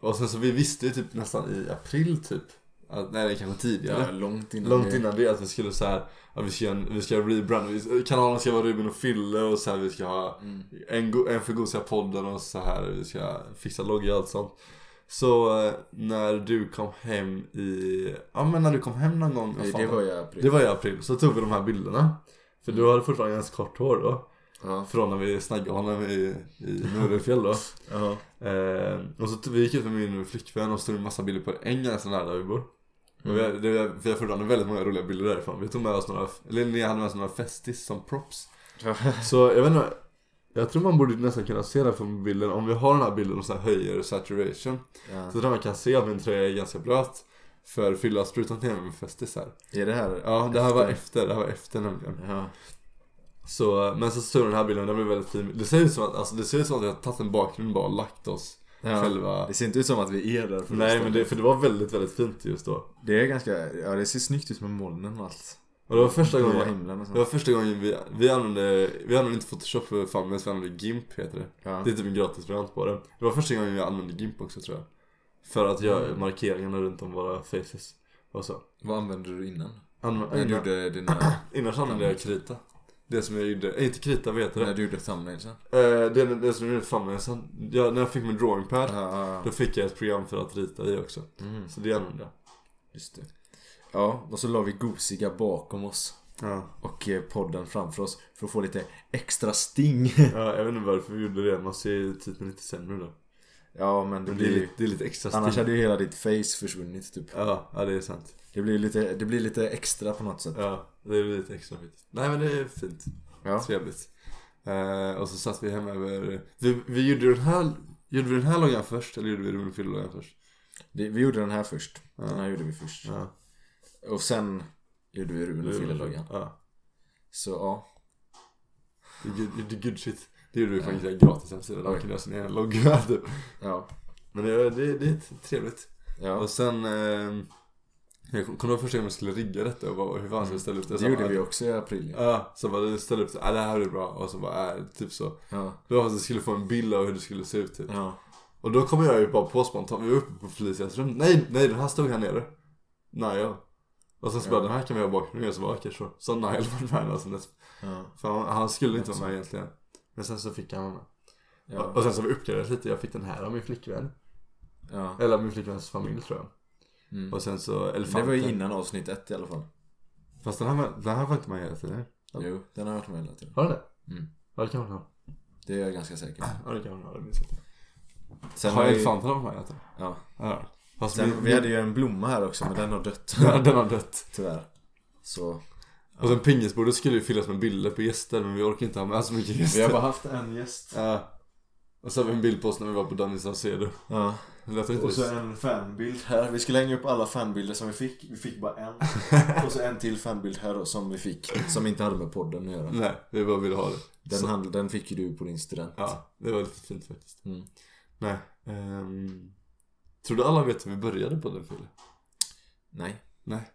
[SPEAKER 1] och sen så vi visste ju typ nästan i april typ. Att, nej, det är kanske tidigare.
[SPEAKER 2] Ja, långt innan
[SPEAKER 1] Långt
[SPEAKER 2] det-
[SPEAKER 1] innan det att vi skulle så här, att vi ska, göra en- vi ska rebranda, vi- kanalen ska vara Ruben och Fille och så här, vi ska ha
[SPEAKER 2] Mm.
[SPEAKER 1] en, go- en för gosiga podden och så här, vi ska fixa logga och allt sånt. Så eh, när du kom hem i, ja men när du kom hem någon gång, vad
[SPEAKER 2] Nej,
[SPEAKER 1] fan
[SPEAKER 2] det var Mm. ju april.
[SPEAKER 1] det var i april, så tog vi de här bilderna. För du hade fortfarande ganska kort hår då.
[SPEAKER 2] Ja.
[SPEAKER 1] Från när vi snaggade honom i, i Norefjäll då.
[SPEAKER 2] Ja.
[SPEAKER 1] Eh, och så t- vi gick ut med min flickvän och stod en massa bilder på ängarna så nära där vi bor. Och vi, har, det, vi har vi har fortfarande väldigt många roliga bilder därifrån. Vi tog med oss några, eller ni hade med oss några festis som props. Så jag vet inte, jag tror man borde nästan kunna se den från bilden. Om vi har den här bilden och så här höjer saturation.
[SPEAKER 2] Ja.
[SPEAKER 1] Så tror jag man kan se att min tröja är ganska blöt. För fyllasprutaren till med festisar.
[SPEAKER 2] Är det här?
[SPEAKER 1] Ja, det här var efter, det här var efter nämligen.
[SPEAKER 2] Ja.
[SPEAKER 1] Så, men så stod den här bilden, den blev väldigt fin. Det ser ut som att, alltså, det ser ut som att vi har tagit en bakgrund och bara lagt oss
[SPEAKER 2] Ja.
[SPEAKER 1] själva.
[SPEAKER 2] Det ser inte ut som att vi är där. för
[SPEAKER 1] Nej
[SPEAKER 2] att-
[SPEAKER 1] men det, för det var väldigt väldigt fint just då.
[SPEAKER 2] Det är ganska, ja det ser snyggt ut med molnen och allt.
[SPEAKER 1] Och det var första
[SPEAKER 2] Blåa
[SPEAKER 1] gången,
[SPEAKER 2] himlen och sånt.
[SPEAKER 1] det var första gången vi, vi använde, vi använde inte photoshop för fan men vi använde GIMP heter det.
[SPEAKER 2] Ja.
[SPEAKER 1] Det är typ en gratis variant på det. Det var första gången vi använde GIMP också tror jag. För att göra markeringarna runt om våra faces och så.
[SPEAKER 2] Vad använde du innan?
[SPEAKER 1] Anv-
[SPEAKER 2] När du
[SPEAKER 1] innan,
[SPEAKER 2] gjorde dina,
[SPEAKER 1] innan så använde jag krita. Det som jag gjorde, äh, inte krita vad heter det?
[SPEAKER 2] när du gjorde thumbnailsen?
[SPEAKER 1] Eh, det, det som jag gjorde thumbnailsen. Jag, när jag fick min drawing pad,
[SPEAKER 2] Ja, Mm,
[SPEAKER 1] då fick jag ett program för att rita i också. Så det använde jag.
[SPEAKER 2] just det. Ja, och så la vi gosiga bakom oss.
[SPEAKER 1] Ja.
[SPEAKER 2] Och eh, podden framför oss för att få lite extra sting.
[SPEAKER 1] ja, jag vet inte varför vi gjorde det, man ser ju titeln lite sämre då.
[SPEAKER 2] Ja men det
[SPEAKER 1] Men det är,
[SPEAKER 2] blir ju...
[SPEAKER 1] lite, det är lite extra stil.
[SPEAKER 2] Annars hade ju hela ditt face försvunnit typ.
[SPEAKER 1] Ja, ja, det är sant.
[SPEAKER 2] Det blir lite, det blir lite extra på något sätt.
[SPEAKER 1] Ja, det är lite extra skit. Nej men det är fint.
[SPEAKER 2] Ja.
[SPEAKER 1] Trevligt. Eh, och så satt vi hemma över... Vi, vi gjorde den här... Gjorde vi den här loggan först eller gjorde vi Ruben och Fille loggan först?
[SPEAKER 2] Det, vi gjorde den här först. Den här gjorde vi först.
[SPEAKER 1] Ja.
[SPEAKER 2] Och sen gjorde vi Ruben och Fille-loggan.
[SPEAKER 1] Ja.
[SPEAKER 2] Så ja.
[SPEAKER 1] Det är good, det är good shit. Det gjorde vi faktiskt en gratis hemsida. Där man kunde göra sin egen logga typ.
[SPEAKER 2] Ja.
[SPEAKER 1] Men det, det, det är trevligt.
[SPEAKER 2] ja.
[SPEAKER 1] Och sen... Eh, jag kommer ihåg första gången vi skulle rigga detta och bara, hur fan ska vi ställa upp det?
[SPEAKER 2] Det gjorde vi också i april. Ja.
[SPEAKER 1] Ja, så bara ställde upp det. Ja, det här blir bra. Och så bara, äh, typ så.
[SPEAKER 2] Ja.
[SPEAKER 1] Det var för att du skulle få en bild av hur det skulle se ut typ.
[SPEAKER 2] ja.
[SPEAKER 1] Och då kommer jag ju bara på spontant, vi var uppe på Felicias rum. Nej, nej den här stod här nere. Naja. Och sen så bara, den här kan vi ha bakgrunden så bara, okej sure. Så Nile var med alltså nästan.
[SPEAKER 2] Ja.
[SPEAKER 1] För han, han skulle inte vara med egentligen. Men sen så fick han vara med. Och-
[SPEAKER 2] Ja.
[SPEAKER 1] Och sen så har vi uppgraderat lite, jag fick den här av min flickvän.
[SPEAKER 2] ja.
[SPEAKER 1] Eller min flickväns familj tror jag.
[SPEAKER 2] Mm.
[SPEAKER 1] Och sen så
[SPEAKER 2] Det
[SPEAKER 1] elefanten.
[SPEAKER 2] var ju innan avsnitt ett i alla fall.
[SPEAKER 1] Fast den här, var- den här var inte med hela tiden.
[SPEAKER 2] Jo, den har jag varit med hela tiden.
[SPEAKER 1] Har den det?
[SPEAKER 2] Mm.
[SPEAKER 1] Ja det kan hon ha.
[SPEAKER 2] Det är jag ganska säker på.
[SPEAKER 1] Ja det kan hon ha, det minns jag inte.
[SPEAKER 2] Sen
[SPEAKER 1] Har
[SPEAKER 2] har vi-
[SPEAKER 1] elefanten varit med hela tiden?
[SPEAKER 2] Ja.
[SPEAKER 1] Ja. Fast
[SPEAKER 2] Sen,
[SPEAKER 1] min-
[SPEAKER 2] vi hade ju en blomma här också men den har dött.
[SPEAKER 1] Ja, den har dött.
[SPEAKER 2] Tyvärr. Så.
[SPEAKER 1] Och sen pingisbordet skulle ju fyllas med bilder på gäster men vi orkar inte ha med så mycket gäster.
[SPEAKER 2] Vi har bara haft en gäst.
[SPEAKER 1] Ja. Och så har vi en bild på oss när vi var på Danny Saucedo.
[SPEAKER 2] Ja.
[SPEAKER 1] Det lät inte
[SPEAKER 2] Och så
[SPEAKER 1] så...
[SPEAKER 2] en fanbild här. Vi skulle hänga upp alla fanbilder som vi fick. Vi fick bara en. Och så en till fanbild här som vi fick. Som inte hade med podden att göra.
[SPEAKER 1] Nej, vi bara ville ha det.
[SPEAKER 2] Den, hand, den fick ju du på din student.
[SPEAKER 1] Ja, det var lite fint faktiskt.
[SPEAKER 2] Mm.
[SPEAKER 1] Nej. ehm, Tror du alla vet hur vi började på den filmen?
[SPEAKER 2] Nej.
[SPEAKER 1] Nej.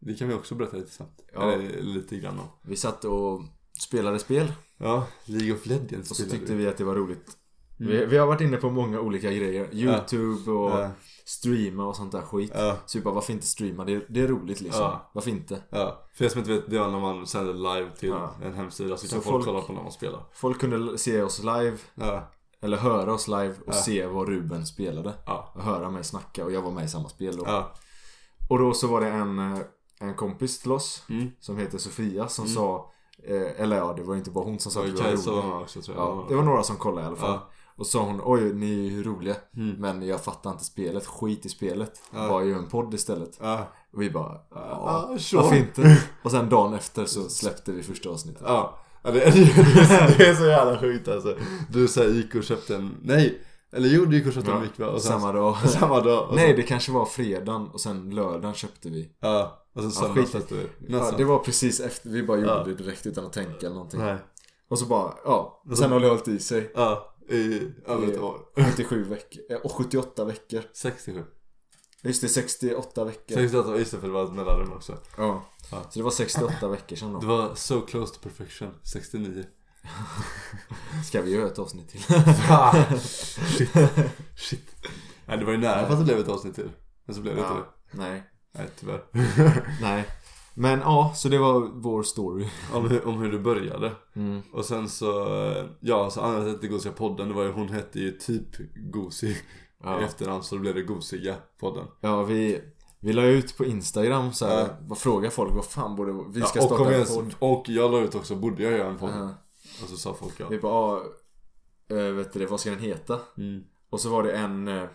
[SPEAKER 1] Det kan vi också berätta lite snabbt.
[SPEAKER 2] Ja.
[SPEAKER 1] Eller lite grann om.
[SPEAKER 2] Vi satt och spelade spel.
[SPEAKER 1] Ja, League of Legends
[SPEAKER 2] Och så
[SPEAKER 1] spelade
[SPEAKER 2] tyckte
[SPEAKER 1] vi.
[SPEAKER 2] vi att det var roligt. Vi, vi har varit inne på många olika grejer. Youtube och
[SPEAKER 1] Ja.
[SPEAKER 2] streama och sånt där skit.
[SPEAKER 1] Ja.
[SPEAKER 2] Så vi bara, varför inte streama? Det är, det är roligt liksom.
[SPEAKER 1] Ja.
[SPEAKER 2] Varför inte?
[SPEAKER 1] Ja, för er som inte vet, det var när man sänder live till
[SPEAKER 2] Ja.
[SPEAKER 1] en hemsida så,
[SPEAKER 2] Så
[SPEAKER 1] kan folk
[SPEAKER 2] folk-
[SPEAKER 1] kolla på när man spelar.
[SPEAKER 2] Folk kunde se oss live,
[SPEAKER 1] Ja,
[SPEAKER 2] eller höra oss live och se vad Ruben spelade.
[SPEAKER 1] ja,
[SPEAKER 2] Och höra mig snacka och jag var med i samma spel då.
[SPEAKER 1] ja.
[SPEAKER 2] Och då så var det en, eh, en kompis till oss
[SPEAKER 1] Mm.
[SPEAKER 2] som heter Sofia som sa eh, Eller ja, det var inte bara hon som sa
[SPEAKER 1] Så
[SPEAKER 2] att vi var
[SPEAKER 1] Kajsa var
[SPEAKER 2] roliga.
[SPEAKER 1] med också tror jag.
[SPEAKER 2] Ja, det var några som kollade i alla fall.
[SPEAKER 1] Ja. Mm.
[SPEAKER 2] Och sa hon Oj, ni är ju roliga. Men jag fattar inte spelet. Skit i spelet. Bara gör en podd istället.
[SPEAKER 1] Ja,
[SPEAKER 2] Och vi bara
[SPEAKER 1] Ja,
[SPEAKER 2] Ja,
[SPEAKER 1] sure."
[SPEAKER 2] varför inte? Och sen dagen efter så släppte vi första avsnittet.
[SPEAKER 1] ja. ja det, det, är, det är så jävla sjukt alltså. Du säger gick och köpte en, nej, eller jo du gick och köpte en mikro och sen,
[SPEAKER 2] Samma dag.
[SPEAKER 1] samma dag. Och
[SPEAKER 2] Nej, det kanske var fredagen och sen lördagen köpte vi.
[SPEAKER 1] Ja, och sen
[SPEAKER 2] Ja,
[SPEAKER 1] söndag
[SPEAKER 2] skit.
[SPEAKER 1] satt du
[SPEAKER 2] Ja, det var precis efter, vi bara gjorde det direkt utan att tänka eller någonting.
[SPEAKER 1] Nej.
[SPEAKER 2] Och så bara, ja. Sen har det hållit i sig.
[SPEAKER 1] Ja, i över ett år.
[SPEAKER 2] 77 veckor. eh, Och 78 veckor.
[SPEAKER 1] 67.
[SPEAKER 2] Just det, 68 veckor.
[SPEAKER 1] 68, just det för det var ett mellanrum också.
[SPEAKER 2] Ja.
[SPEAKER 1] Ja.
[SPEAKER 2] Så det var 68 veckor sedan
[SPEAKER 1] Det
[SPEAKER 2] då.
[SPEAKER 1] var so close to perfection, 69.
[SPEAKER 2] Ska vi göra ett avsnitt till?
[SPEAKER 1] Shit. Shit. Nej, det var ju nära för att det blev ett avsnitt till. Men så blev det inte det.
[SPEAKER 2] Nej.
[SPEAKER 1] Nej, tyvärr.
[SPEAKER 2] typ? Nej. Men ja, så det var vår story.
[SPEAKER 1] om, hur, om hur det började.
[SPEAKER 2] Mm.
[SPEAKER 1] Och sen så, eh, ja, så anledningen till att det Gosiga podden, det var ju hon hette ju typ Gosig
[SPEAKER 2] Ja.
[SPEAKER 1] i efternamn. Så då blev det Gosiga podden.
[SPEAKER 2] Ja, vi, vi la ut på Instagram så här,
[SPEAKER 1] Ja.
[SPEAKER 2] bara fråga folk vad fan borde vi ska
[SPEAKER 1] Ja, och, kom
[SPEAKER 2] starta en
[SPEAKER 1] igen,
[SPEAKER 2] podd.
[SPEAKER 1] och jag la ut också, borde jag göra en podd?
[SPEAKER 2] Ja.
[SPEAKER 1] Och så sa folk ja.
[SPEAKER 2] Vi bara, ah, eh, vet du det, vad ska den heta?
[SPEAKER 1] Mm.
[SPEAKER 2] Och så var det en eh,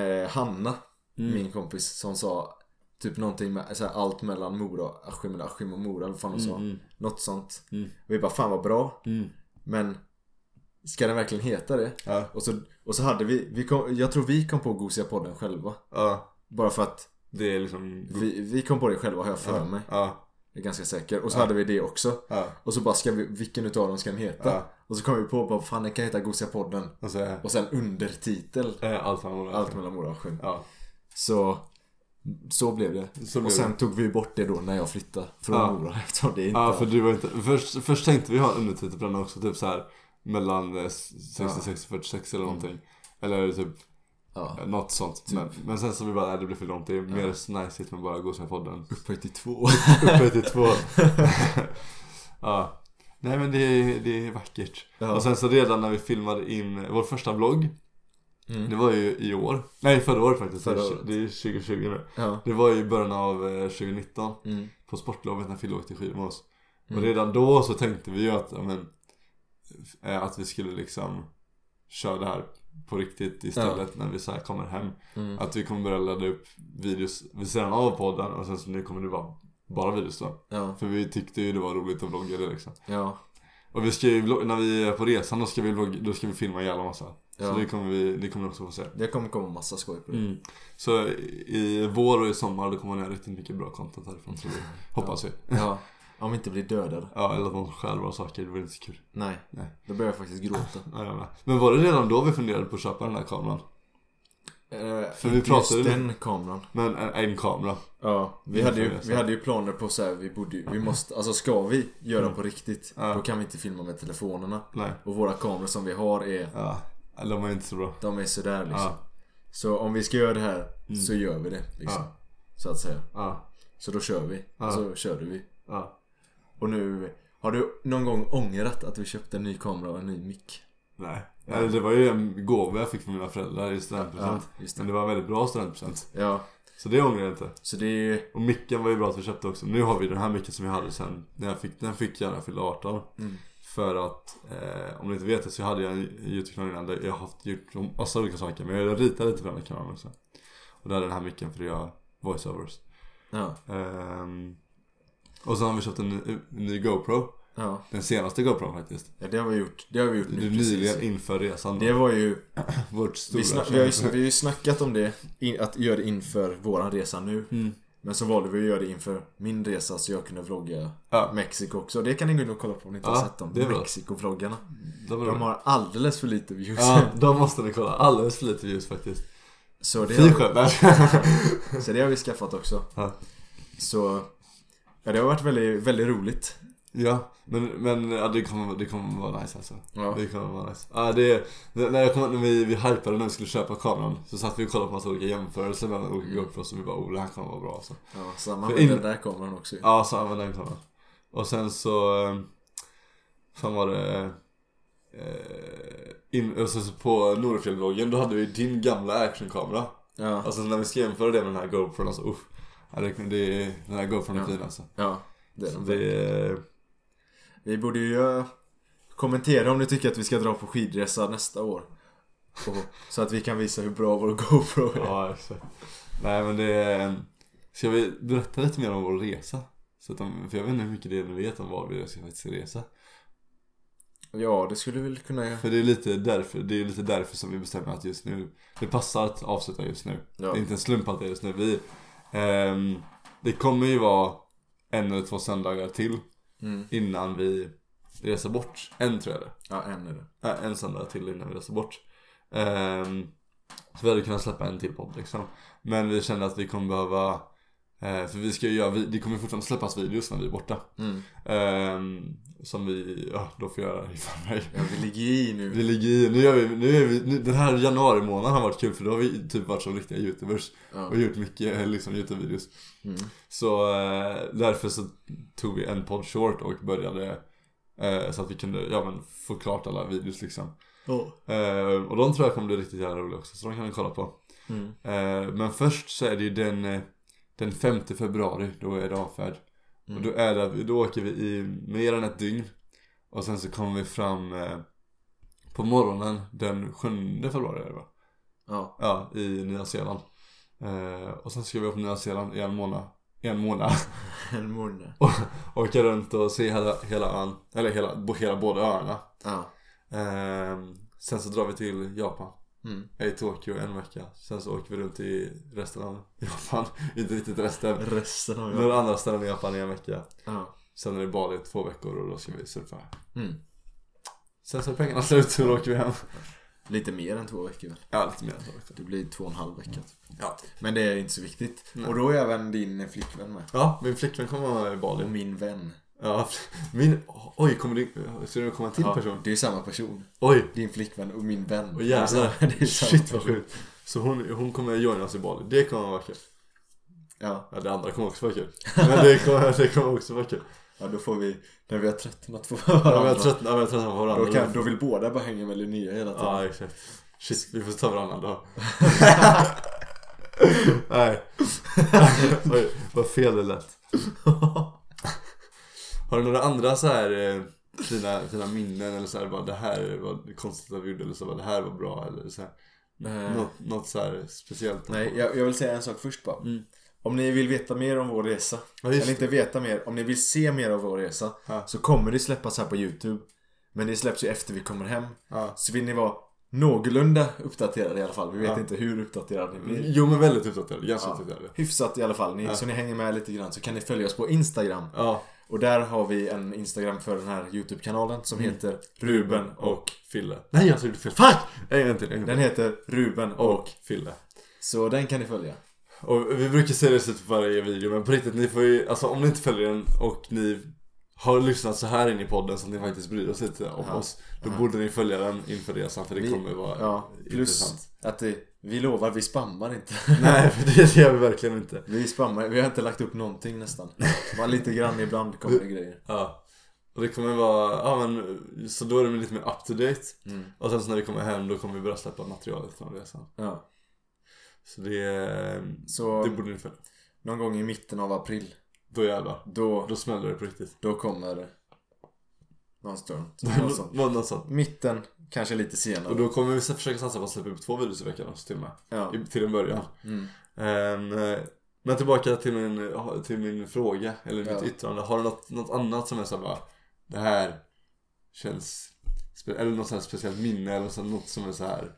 [SPEAKER 2] eh, Hanna,
[SPEAKER 1] Mm.
[SPEAKER 2] min kompis, som sa typ någonting med så här, allt mellan Mora och Askim eller Askim och Mora eller vad fan hon sa.
[SPEAKER 1] Mm.
[SPEAKER 2] Något sånt.
[SPEAKER 1] Mm.
[SPEAKER 2] Och vi bara fan vad bra.
[SPEAKER 1] Mm.
[SPEAKER 2] Men ska den verkligen heta det?
[SPEAKER 1] Ja.
[SPEAKER 2] Och, så, och så hade vi, vi kom, jag tror vi kom på Gosiga podden själva.
[SPEAKER 1] ja,
[SPEAKER 2] Bara för att
[SPEAKER 1] det är liksom...
[SPEAKER 2] vi, vi kom på det själva har jag för mig.
[SPEAKER 1] Ja,
[SPEAKER 2] Jag är ganska säker. Och så hade vi det också.
[SPEAKER 1] ja,
[SPEAKER 2] Och så bara ska vi, vilken utav dem ska den heta?
[SPEAKER 1] Ja.
[SPEAKER 2] Och så kom vi på bara fan den kan heta Gosiga podden.
[SPEAKER 1] och så är
[SPEAKER 2] Och sen undertitel.
[SPEAKER 1] eh, allt han var
[SPEAKER 2] Allt mellan Mora och Askim.
[SPEAKER 1] Ja,
[SPEAKER 2] Så så blev det.
[SPEAKER 1] Så blev
[SPEAKER 2] och sen tog vi bort det då när jag flyttade från
[SPEAKER 1] Ja.
[SPEAKER 2] Mora eftersom det inte...
[SPEAKER 1] ja för du var inte... Först, först tänkte vi ha undertitel på den också, typ så här mellan eh, 66 och 46
[SPEAKER 2] Mm.
[SPEAKER 1] eller någonting. Eller typ
[SPEAKER 2] Ja.
[SPEAKER 1] eh, något sånt. Men,
[SPEAKER 2] Typ.
[SPEAKER 1] men sen så vi bara, nej det blir för långt. Det är mer nice med bara Gosiga-podden.
[SPEAKER 2] Upphöjt till två.
[SPEAKER 1] Uppe till två. ja. Nej men det är, det är vackert.
[SPEAKER 2] Ja.
[SPEAKER 1] Och sen så redan när vi filmade in vår första vlogg. Det var ju i år. Nej förra året faktiskt.
[SPEAKER 2] Mm. Förra
[SPEAKER 1] Det är-
[SPEAKER 2] året.
[SPEAKER 1] Det är 2020 nu.
[SPEAKER 2] Ja.
[SPEAKER 1] Det var ju i början av eh, 2019.
[SPEAKER 2] Mm.
[SPEAKER 1] På sportlovet när Fille åkte skidor med oss. Och redan då så tänkte vi ju att, ja, men, eh, att vi skulle liksom köra det här på riktigt istället när vi så här kommer hem.
[SPEAKER 2] Mm.
[SPEAKER 1] Att vi kommer börja ladda upp videos vid sidan av podden och sen så nu kommer det vara bara videos då.
[SPEAKER 2] Ja.
[SPEAKER 1] För vi tyckte ju det var roligt att vlogga det liksom.
[SPEAKER 2] Ja.
[SPEAKER 1] Och vi ska ju vlogga, när vi är på resan då ska vi, vlogga, då ska vi filma en jävla massa.
[SPEAKER 2] Ja. Mm.
[SPEAKER 1] Så det kommer, vi, det kommer ni också få se.
[SPEAKER 2] Det kommer komma massa skoj på det.
[SPEAKER 1] Så i vår och i sommar då kommer ni ha riktigt mycket bra content härifrån tror vi. Hoppas vi.
[SPEAKER 2] Ja. Om vi inte blir dödade.
[SPEAKER 1] Ja, eller att någon stjäl våra saker, det vore inte så kul.
[SPEAKER 2] Nej.
[SPEAKER 1] Nej.
[SPEAKER 2] Då börjar jag faktiskt gråta.
[SPEAKER 1] Ja, jag med. Men var det redan då vi funderade på att köpa den här kameran?
[SPEAKER 2] För
[SPEAKER 1] vi pratade ju-
[SPEAKER 2] Eh, Just den kameran.
[SPEAKER 1] Men en, en kamera.
[SPEAKER 2] Ja. Vi
[SPEAKER 1] Inför
[SPEAKER 2] hade ju,
[SPEAKER 1] resan.
[SPEAKER 2] vi hade ju planer på så här, vi borde ju, vi måste, alltså ska vi göra på riktigt.
[SPEAKER 1] Mm. Ja.
[SPEAKER 2] Då kan vi inte filma med telefonerna.
[SPEAKER 1] Nej.
[SPEAKER 2] Och våra kameror som vi har är
[SPEAKER 1] Ja. De är inte så bra.
[SPEAKER 2] De är sådär liksom.
[SPEAKER 1] Ja. Mm.
[SPEAKER 2] Så om vi ska göra det här så gör vi det. Liksom.
[SPEAKER 1] Ja.
[SPEAKER 2] Så att säga.
[SPEAKER 1] Ja.
[SPEAKER 2] Så då kör vi. Och så körde vi.
[SPEAKER 1] Ja.
[SPEAKER 2] Och nu, har du någon gång ångrat att du köpte en ny kamera och en ny mick?
[SPEAKER 1] Nej. Eller det var ju en gåva jag fick från mina föräldrar i studentpresent.
[SPEAKER 2] Ja, just det.
[SPEAKER 1] Men det var en väldigt bra studentpresent.
[SPEAKER 2] Ja,
[SPEAKER 1] Så det ångrar jag inte.
[SPEAKER 2] så det är ju...
[SPEAKER 1] Och micken var ju bra att vi köpte också. Nu har vi den här micken som jag hade sen. När jag fick, den fick jag när jag fyllde 18.
[SPEAKER 2] Mm.
[SPEAKER 1] För att, eh, om ni inte vet det så hade jag en YouTube-kanal innan. Där jag har haft, gjort om massa olika saker. Men jag ritade lite på den här kanalen också. Och där hade jag den här micken för att göra voiceovers.
[SPEAKER 2] Ja,
[SPEAKER 1] Ehm, och sen har vi köpt en ny, en ny GoPro.
[SPEAKER 2] ja.
[SPEAKER 1] Den senaste GoPron faktiskt.
[SPEAKER 2] ja det har vi gjort. Det har vi gjort
[SPEAKER 1] Det är
[SPEAKER 2] nu
[SPEAKER 1] nyligen
[SPEAKER 2] precis.
[SPEAKER 1] inför resan.
[SPEAKER 2] Det var ju...
[SPEAKER 1] vårt stora
[SPEAKER 2] Vi, sna- vi, har ju, vi har ju snackat om det, in, att göra det inför våran resa nu.
[SPEAKER 1] Mm.
[SPEAKER 2] Men så valde vi att göra det inför min resa så jag kunde vlogga
[SPEAKER 1] Ja.
[SPEAKER 2] Mexiko också. Det kan ni gå in och kolla på om ni inte
[SPEAKER 1] Ja,
[SPEAKER 2] har sett dem.
[SPEAKER 1] det är bra.
[SPEAKER 2] Mexiko-vloggarna.
[SPEAKER 1] De, var-
[SPEAKER 2] De har alldeles för lite views.
[SPEAKER 1] Ja, de måste ni kolla. Alldeles för lite ljus faktiskt.
[SPEAKER 2] Så, det
[SPEAKER 1] Fy
[SPEAKER 2] har,
[SPEAKER 1] skönt. Nej.
[SPEAKER 2] så det har vi skaffat också.
[SPEAKER 1] Ja.
[SPEAKER 2] Så... Ja, det har varit väldigt, väldigt roligt.
[SPEAKER 1] Ja, men, men ja, det, kommer, det kommer vara nice alltså.
[SPEAKER 2] Ja.
[SPEAKER 1] Det kommer vara nice. Ja, det, när när jag kom, när vi, vi hypade när vi skulle köpa kameran så satt vi och kollade på massa olika jämförelser mellan olika
[SPEAKER 2] Mm.
[SPEAKER 1] GoPros och vi bara oh, det här kommer vara bra alltså.
[SPEAKER 2] Ja, samma
[SPEAKER 1] För
[SPEAKER 2] med
[SPEAKER 1] in-
[SPEAKER 2] den där kameran också ju.
[SPEAKER 1] Ja, så använde den kameran. Och sen så... eh, Fan var det... Eh, in, och sen så på Norefjällvloggen då hade vi din gamla actionkamera.
[SPEAKER 2] Ja.
[SPEAKER 1] Alltså när vi ska jämföra det med den här GoPron alltså uff. Ja, det, det, är- den här GoPron är
[SPEAKER 2] Ja.
[SPEAKER 1] fin alltså.
[SPEAKER 2] ja, det är
[SPEAKER 1] Så
[SPEAKER 2] den.
[SPEAKER 1] det, eh,
[SPEAKER 2] Vi borde ju eh, kommentera om ni tycker att vi ska dra på skidresa nästa år. Och, så att vi kan visa hur bra vår GoPro är.
[SPEAKER 1] Ja, exakt. Nej men det är... ehm, Ska vi berätta lite mer om vår resa? Så att de, för jag vet inte hur mycket det är ni vet om var vi ska faktiskt resa.
[SPEAKER 2] Ja, det skulle vi väl kunna göra.
[SPEAKER 1] För det är lite därför, det är lite därför som vi bestämmer att just nu, det passar att avsluta just nu.
[SPEAKER 2] Ja.
[SPEAKER 1] Det är inte en slump att det är just nu. Vi, ehm, det kommer ju vara en eller två söndagar till
[SPEAKER 2] Mm.
[SPEAKER 1] innan vi reser bort. En tror jag det.
[SPEAKER 2] Ja, en är det.
[SPEAKER 1] Ja, Äh, en söndag till innan vi reser bort. Ehm, så vi hade kunnat släppa en till podd liksom. Men vi kände att vi kommer behöva, eh, för vi ska ju göra, vi- det kommer fortfarande släppas videos när vi är borta.
[SPEAKER 2] Mm.
[SPEAKER 1] Ehm, som vi, ja, då får göra i förväg.
[SPEAKER 2] Ja, vi ligger i nu.
[SPEAKER 1] Vi ligger i, nu gör vi, nu är vi, nu, den här januari månaden har varit kul för då har vi typ varit som riktiga youtubers
[SPEAKER 2] Ja.
[SPEAKER 1] och gjort mycket eh, liksom youtube-videos.
[SPEAKER 2] Mm.
[SPEAKER 1] Så eh, därför så tog vi en podd short och började eh, så att vi kunde, ja men få klart alla videos liksom.
[SPEAKER 2] Ja.
[SPEAKER 1] Eh, och de tror jag kommer bli riktigt jävla roliga också, så de kan ni kolla på.
[SPEAKER 2] Mm.
[SPEAKER 1] Eh, men först så är det ju den, eh, den 5 februari, då är det avfärd. Och då, är det, då åker vi i mer än ett dygn. Och sen så kommer vi fram eh, på morgonen den 7 februari är det va?
[SPEAKER 2] Ja.
[SPEAKER 1] Ja, i Nya Zeeland. Eh, och sen ska vi upp till Nya Zeeland i en månad. En månad.
[SPEAKER 2] En månad.
[SPEAKER 1] och åka runt och se hela, hela ön. Eller hela, hela båda öarna.
[SPEAKER 2] Ja.
[SPEAKER 1] Eh, sen så drar vi till Japan.
[SPEAKER 2] Mm.
[SPEAKER 1] Jag är i Tokyo en vecka, sen så åker vi runt i resten av Japan, inte riktigt resten,
[SPEAKER 2] Resten av jag.
[SPEAKER 1] några andra ställen i Japan i en vecka.
[SPEAKER 2] Ja.
[SPEAKER 1] Sen är det Bali i två veckor och då ska vi surfa.
[SPEAKER 2] Mm.
[SPEAKER 1] Sen så är pengarna slut så då åker vi hem.
[SPEAKER 2] Lite mer än två veckor väl?
[SPEAKER 1] Ja, lite mer än två veckor.
[SPEAKER 2] Det blir två och en halv vecka. typ.
[SPEAKER 1] Ja.
[SPEAKER 2] Men det är inte så viktigt.
[SPEAKER 1] Nej.
[SPEAKER 2] Och då är även din flickvän med.
[SPEAKER 1] Ja, min flickvän kommer vara i
[SPEAKER 2] Och
[SPEAKER 1] Bali.
[SPEAKER 2] min vän.
[SPEAKER 1] Ja, min... Oj, kommer det... Ska det komma en till
[SPEAKER 2] Ja,
[SPEAKER 1] person?
[SPEAKER 2] Det är samma person.
[SPEAKER 1] Oj!
[SPEAKER 2] Din flickvän och min vän.
[SPEAKER 1] Åh
[SPEAKER 2] Det är
[SPEAKER 1] jävlar.
[SPEAKER 2] samma- det är samma
[SPEAKER 1] Shit vad
[SPEAKER 2] person.
[SPEAKER 1] sjukt. Så hon, hon kommer joina oss i Bali. Det kommer vara kul.
[SPEAKER 2] Ja.
[SPEAKER 1] Ja, det andra kommer också vara kul. Men det kommer, det kommer också vara kul.
[SPEAKER 2] ja, då får vi, när vi har tröttnat på
[SPEAKER 1] Ja, men
[SPEAKER 2] varandra.
[SPEAKER 1] jag tröttnar ja, men jag tröttnar på varandra.
[SPEAKER 2] då, kan, då vill båda bara hänga med Linnea hela tiden.
[SPEAKER 1] Ja exakt. Shit, vi får ta varannan dag. Nej. Oj, vad fel det lät. Har du några andra så här eh, fina, fina minnen eller så här bara det här var konstigt att vi gjorde eller så bara det här var bra eller så här.
[SPEAKER 2] Eh.
[SPEAKER 1] Något, något så här speciellt.
[SPEAKER 2] Nej, jag, jag vill säga en sak först bara.
[SPEAKER 1] Mm.
[SPEAKER 2] Om ni vill veta mer om vår resa,
[SPEAKER 1] Ja, just
[SPEAKER 2] eller inte veta mer, om ni vill se mer av vår resa
[SPEAKER 1] Ja.
[SPEAKER 2] så kommer det släppas här på YouTube. Men det släpps ju efter vi kommer hem.
[SPEAKER 1] Ja.
[SPEAKER 2] Så vill ni vara någorlunda uppdaterade i alla fall. Vi vet
[SPEAKER 1] Ja.
[SPEAKER 2] inte hur uppdaterade ni blir.
[SPEAKER 1] Jo men väldigt uppdaterad, ganska
[SPEAKER 2] Ja,
[SPEAKER 1] uppdaterad.
[SPEAKER 2] hyfsat i alla fall. Ni, Så ni hänger med lite grann så kan ni följa oss på Instagram.
[SPEAKER 1] Ja.
[SPEAKER 2] Och där har vi en Instagram för den här YouTube-kanalen som
[SPEAKER 1] Mm.
[SPEAKER 2] heter Ruben och...
[SPEAKER 1] Fille. Nej jag gjorde fel. Fuck! En gång till, en gång till.
[SPEAKER 2] Den heter Ruben och...
[SPEAKER 1] Och Fille.
[SPEAKER 2] Så den kan ni följa.
[SPEAKER 1] Och vi brukar säga det i slutet på varje video men på riktigt ni får ju, alltså om ni inte följer den och ni har lyssnat så här in i podden så att ni faktiskt bryr oss lite om
[SPEAKER 2] Ja.
[SPEAKER 1] oss. Då borde ni följa den inför resan för det
[SPEAKER 2] Vi-
[SPEAKER 1] kommer vara
[SPEAKER 2] Ja, plus
[SPEAKER 1] intressant.
[SPEAKER 2] att det, vi lovar, vi spammar inte.
[SPEAKER 1] Nej, för det gör vi verkligen inte.
[SPEAKER 2] Vi spammar, vi har inte lagt upp någonting nästan. Bara lite grann ibland kommer det grejer.
[SPEAKER 1] Ja. Och det kommer vara, ja men så då är det lite mer up to date. Och sen så när vi kommer hem då kommer vi börja släppa materialet från resan.
[SPEAKER 2] Ja.
[SPEAKER 1] Så det,
[SPEAKER 2] Så
[SPEAKER 1] det borde ni följa.
[SPEAKER 2] någon gång i mitten av april,
[SPEAKER 1] Då jävlar.
[SPEAKER 2] då,
[SPEAKER 1] Då smäller det på riktigt.
[SPEAKER 2] då kommer någon storm. Någon sån.
[SPEAKER 1] Nå- Något sånt.
[SPEAKER 2] Mitten, kanske lite senare.
[SPEAKER 1] Och då kommer vi så försöka satsa på att släppa upp två videos i veckan också till och med.
[SPEAKER 2] ja.
[SPEAKER 1] I- Till en början.
[SPEAKER 2] Mm.
[SPEAKER 1] Ehm, eh, men tillbaka till min, till min fråga, eller mitt
[SPEAKER 2] Ja.
[SPEAKER 1] yttrande. Har du något, något annat som är såhär bara, det här känns, spe- eller något så här speciellt minne eller så här, något som är så här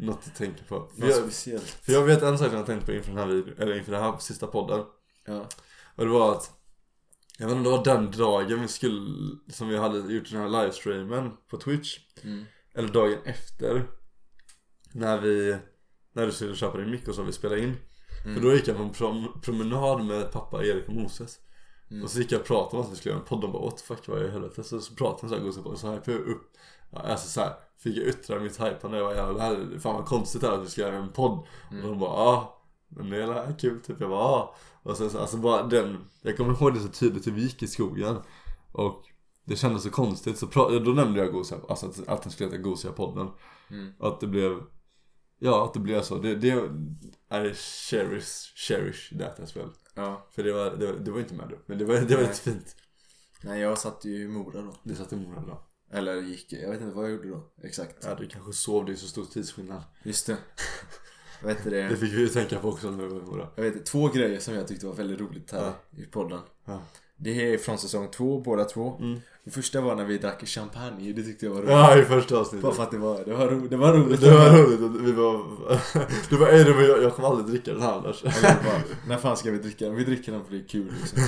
[SPEAKER 1] något du tänker på. För
[SPEAKER 2] Något
[SPEAKER 1] jag,
[SPEAKER 2] speciellt.
[SPEAKER 1] för jag vet en sak som jag tänkte på inför den här, vid- eller inför den här sista podden.
[SPEAKER 2] Ja.
[SPEAKER 1] Och det var att Jag vet inte om det var den dagen vi skulle Som vi hade gjort den här livestreamen på Twitch
[SPEAKER 2] Mm.
[SPEAKER 1] Eller dagen efter När vi När du skulle köpa din mick och så vi spelade in För då gick jag på en prom- promenad med pappa Erik och Moses Och så gick jag och pratade om att vi skulle göra en podd och bara what the fuck vad i helvete Så, så pratade vi såhär gosigt och så hypade jag upp ja, Alltså såhär Fick jag yttra mitt hypande jag bara ja, det här, fan vad konstigt det här att vi ska göra en podd Och de bara ah men det är jävla kul typ, jag bara ah. Och sen så, alltså bara den Jag kommer ihåg det så tydligt hur vi gick i skogen Och det kändes så konstigt så pra- då nämnde jag gosiga, alltså att, att den skulle heta Gosiga-podden
[SPEAKER 2] Mm.
[SPEAKER 1] Och Att det blev Ja att det blev så, det, det I cherish, cherish that as well
[SPEAKER 2] ja.
[SPEAKER 1] För det var, det var, det var inte med då, men det var, det var
[SPEAKER 2] Nej.
[SPEAKER 1] lite fint
[SPEAKER 2] Nej, jag satt ju i Mora då.
[SPEAKER 1] Det satt i Mora då
[SPEAKER 2] Eller gick, jag vet inte vad jag gjorde då. Exakt.
[SPEAKER 1] Ja du kanske sov, det är så stor tidsskillnad
[SPEAKER 2] Just det. Vad heter det?
[SPEAKER 1] Det fick vi ju tänka på också när vi var i Mora
[SPEAKER 2] Jag vet två grejer som jag tyckte var väldigt roligt här i podden.
[SPEAKER 1] Ja.
[SPEAKER 2] Det är från säsong två, båda två.
[SPEAKER 1] Mm.
[SPEAKER 2] Det första var när vi drack champagne, det tyckte jag var roligt.
[SPEAKER 1] Ja i första
[SPEAKER 2] Bara
[SPEAKER 1] avsnittet
[SPEAKER 2] för att det var, det var, ro, det var roligt.
[SPEAKER 1] Det var roligt, att vi var Du var ej, det var, jag, jag kommer aldrig dricka den här annars
[SPEAKER 2] Eller bara, när fan ska vi dricka den? Vi dricker den för det är kul liksom.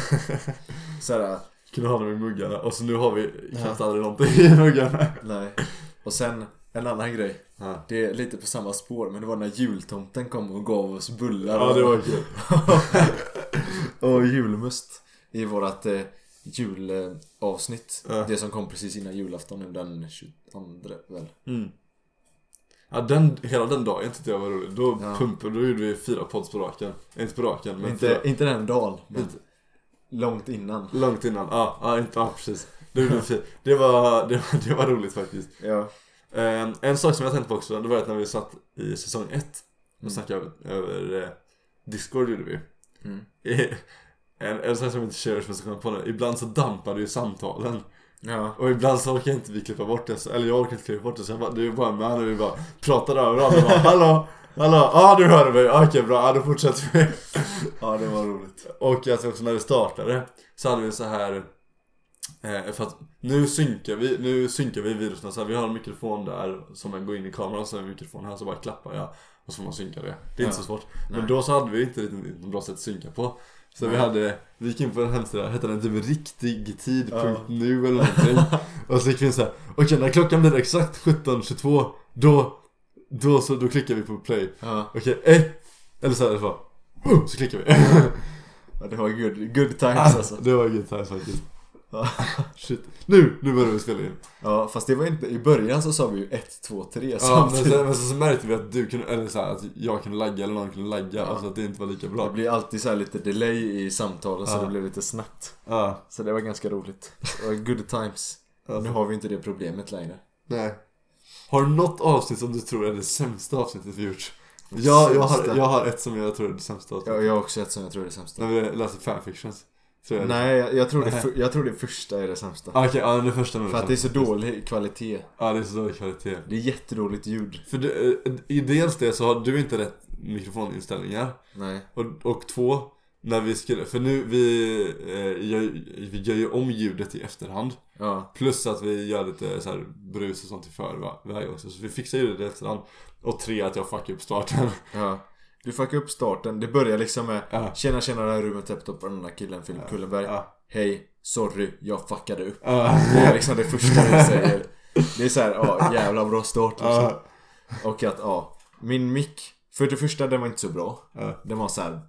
[SPEAKER 2] Såhär,
[SPEAKER 1] Kunde ha dem i muggarna och så nu har vi
[SPEAKER 2] Ja.
[SPEAKER 1] knappt aldrig någonting i muggarna
[SPEAKER 2] nej. Och sen en annan grej.
[SPEAKER 1] Ja,
[SPEAKER 2] Det är lite på samma spår men det var när jultomten kom och gav oss bullar
[SPEAKER 1] ja det var kul
[SPEAKER 2] och julmust. I vårat eh, julavsnitt.
[SPEAKER 1] Ja.
[SPEAKER 2] Det som kom precis innan julafton nu den 22 väl.
[SPEAKER 1] mm. Ja den, hela den dagen tyckte jag var rolig Då
[SPEAKER 2] Ja.
[SPEAKER 1] pumpade, då gjorde vi fyra pods på raken Inte på raken men fyra,
[SPEAKER 2] Inte, inte den dagen, men
[SPEAKER 1] Inte.
[SPEAKER 2] långt innan.
[SPEAKER 1] långt innan Ja, ja, inte, ja precis det, gjorde vi fyra. det, var, det, var, det var roligt faktiskt
[SPEAKER 2] Ja.
[SPEAKER 1] Ehm, En sak som jag tänkte på också, det var att när vi satt i säsong 1 och
[SPEAKER 2] Mm.
[SPEAKER 1] snackade över, över eh, Discord gjorde vi
[SPEAKER 2] Mm.
[SPEAKER 1] en, en sak som inte körs men som kommer på nu, ibland så dampar det ju samtalen
[SPEAKER 2] Ja.
[SPEAKER 1] Och ibland så orkar inte vi klippa bort det, så- eller jag orkar inte klippa bort det så jag bara, det är bara med när vi bara pratar över varandra och bara, Hallå, hallå, ja ah, du hörde mig, okej bra, ja då fortsätter vi
[SPEAKER 2] ja, det var roligt.
[SPEAKER 1] Och alltså också när vi startade så hade vi så här eh, För att nu synkar vi, nu synkar vi virusen så här, vi har en mikrofon där som man går in i kameran och så är det en mikrofon här så bara klappar jag Och så får man synka det, det är
[SPEAKER 2] Ja.
[SPEAKER 1] inte så svårt
[SPEAKER 2] Nej.
[SPEAKER 1] Men då så hade vi inte riktigt något bra sätt att synka på så vi
[SPEAKER 2] Nej.
[SPEAKER 1] hade, vi gick in på en hemsida, hette den typ riktigtid.nu eller någonting Och så gick vi in såhär, okej när klockan blir exakt 17.22 då, då så, då klickar vi på play
[SPEAKER 2] Ja,
[SPEAKER 1] Okej, ett, eller såhär, så, bara, uh, så klickar vi
[SPEAKER 2] ja, det var good, good times
[SPEAKER 1] Alltså,
[SPEAKER 2] alltså.
[SPEAKER 1] det var good times faktiskt.
[SPEAKER 2] Ja.
[SPEAKER 1] Shit. Nu, nu börjar vi spela in.
[SPEAKER 2] Ja, fast det var inte, i början så sa vi ju 1, 2, 3
[SPEAKER 1] Ja, men,
[SPEAKER 2] samtidigt.
[SPEAKER 1] sen, men sen så märkte vi att du kunde, eller så här, att jag kunde lagga eller någon kunde lagga.
[SPEAKER 2] Ja.
[SPEAKER 1] Alltså att det inte var lika
[SPEAKER 2] Det
[SPEAKER 1] bra.
[SPEAKER 2] blir alltid så här lite delay i samtalen så
[SPEAKER 1] Ja.
[SPEAKER 2] det blev lite snabbt.
[SPEAKER 1] Ja.
[SPEAKER 2] Så det var ganska roligt. Det var good times. Nu
[SPEAKER 1] Alltså,
[SPEAKER 2] har vi inte det problemet längre.
[SPEAKER 1] nej. Har du något avsnitt som du tror är det sämsta avsnittet vi gjort? Jag, jag, har,
[SPEAKER 2] Sämsta.
[SPEAKER 1] jag har ett som jag tror är det sämsta avsnittet.
[SPEAKER 2] Jag, jag har också ett som jag tror är det sämsta.
[SPEAKER 1] När vi läser fanfictions. Tror jag.
[SPEAKER 2] Nej, jag, jag, tror det, för- jag tror det första är det sämsta.
[SPEAKER 1] Ah, Okej, ja den första nu.
[SPEAKER 2] För att det är så dålig kvalitet.
[SPEAKER 1] Ja, det är så dålig kvalitet.
[SPEAKER 2] Det är jättedåligt ljud.
[SPEAKER 1] För du, eh, i dels det så har du inte rätt mikrofoninställningar.
[SPEAKER 2] Nej.
[SPEAKER 1] Och, och två, när vi skulle, för nu vi, eh, gör, vi gör ju om ljudet i efterhand.
[SPEAKER 2] Ja.
[SPEAKER 1] Plus att vi gör lite så här brus och sånt i förväg också. Så vi fixar ljudet i efterhand. Och tre, att jag fuckar upp starten.
[SPEAKER 2] Ja. Du fuckar upp starten. Det börjar liksom med
[SPEAKER 1] Ja.
[SPEAKER 2] Tjena tjena det här är rummet Teptop och den där killen Filip Kullenberg.
[SPEAKER 1] Ja.
[SPEAKER 2] Hej, sorry, jag fuckade upp.
[SPEAKER 1] Ja.
[SPEAKER 2] Det är liksom det första du säger. Det är såhär, ja jävla bra start liksom.
[SPEAKER 1] Ja.
[SPEAKER 2] Och att, ja. Min mick. För det första, den var inte så bra.
[SPEAKER 1] Ja.
[SPEAKER 2] Den var såhär,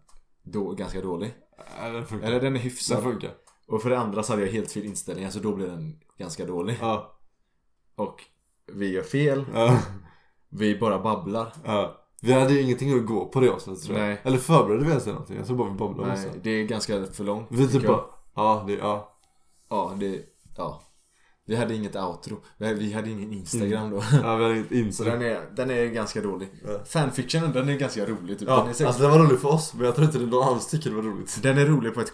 [SPEAKER 2] då, ganska dålig.
[SPEAKER 1] Ja, den funkar.
[SPEAKER 2] Eller den är
[SPEAKER 1] Den
[SPEAKER 2] hyfsad.
[SPEAKER 1] funkar.
[SPEAKER 2] Och för det andra så hade jag helt fel inställningar så då blev den ganska dålig.
[SPEAKER 1] Ja.
[SPEAKER 2] Och vi gör fel.
[SPEAKER 1] Ja.
[SPEAKER 2] Vi bara babblar.
[SPEAKER 1] ja. Vi hade ju ingenting att gå på det avsnittet tror jag.
[SPEAKER 2] Nej.
[SPEAKER 1] Eller förberedde vi ens någonting? Jag tror bara vi babblade om
[SPEAKER 2] Nej,
[SPEAKER 1] sånt.
[SPEAKER 2] det är ganska för långt.
[SPEAKER 1] Vi typ
[SPEAKER 2] tycker jag.
[SPEAKER 1] bara, ja, det, ja.
[SPEAKER 2] Ja, det... Ja. Vi hade inget outro. Vi vi hade ingen Instagram då.
[SPEAKER 1] ja, vi hade inget
[SPEAKER 2] Så
[SPEAKER 1] intro.
[SPEAKER 2] den är, den är ganska dålig.
[SPEAKER 1] Mm. Ja.
[SPEAKER 2] Fanfictionen, den är ganska rolig. Typ.
[SPEAKER 1] Ja,
[SPEAKER 2] den, är säkert,
[SPEAKER 1] alltså det var roligt för oss, men jag tror inte det någon annan tycker det var roligt.
[SPEAKER 2] den är rolig på ett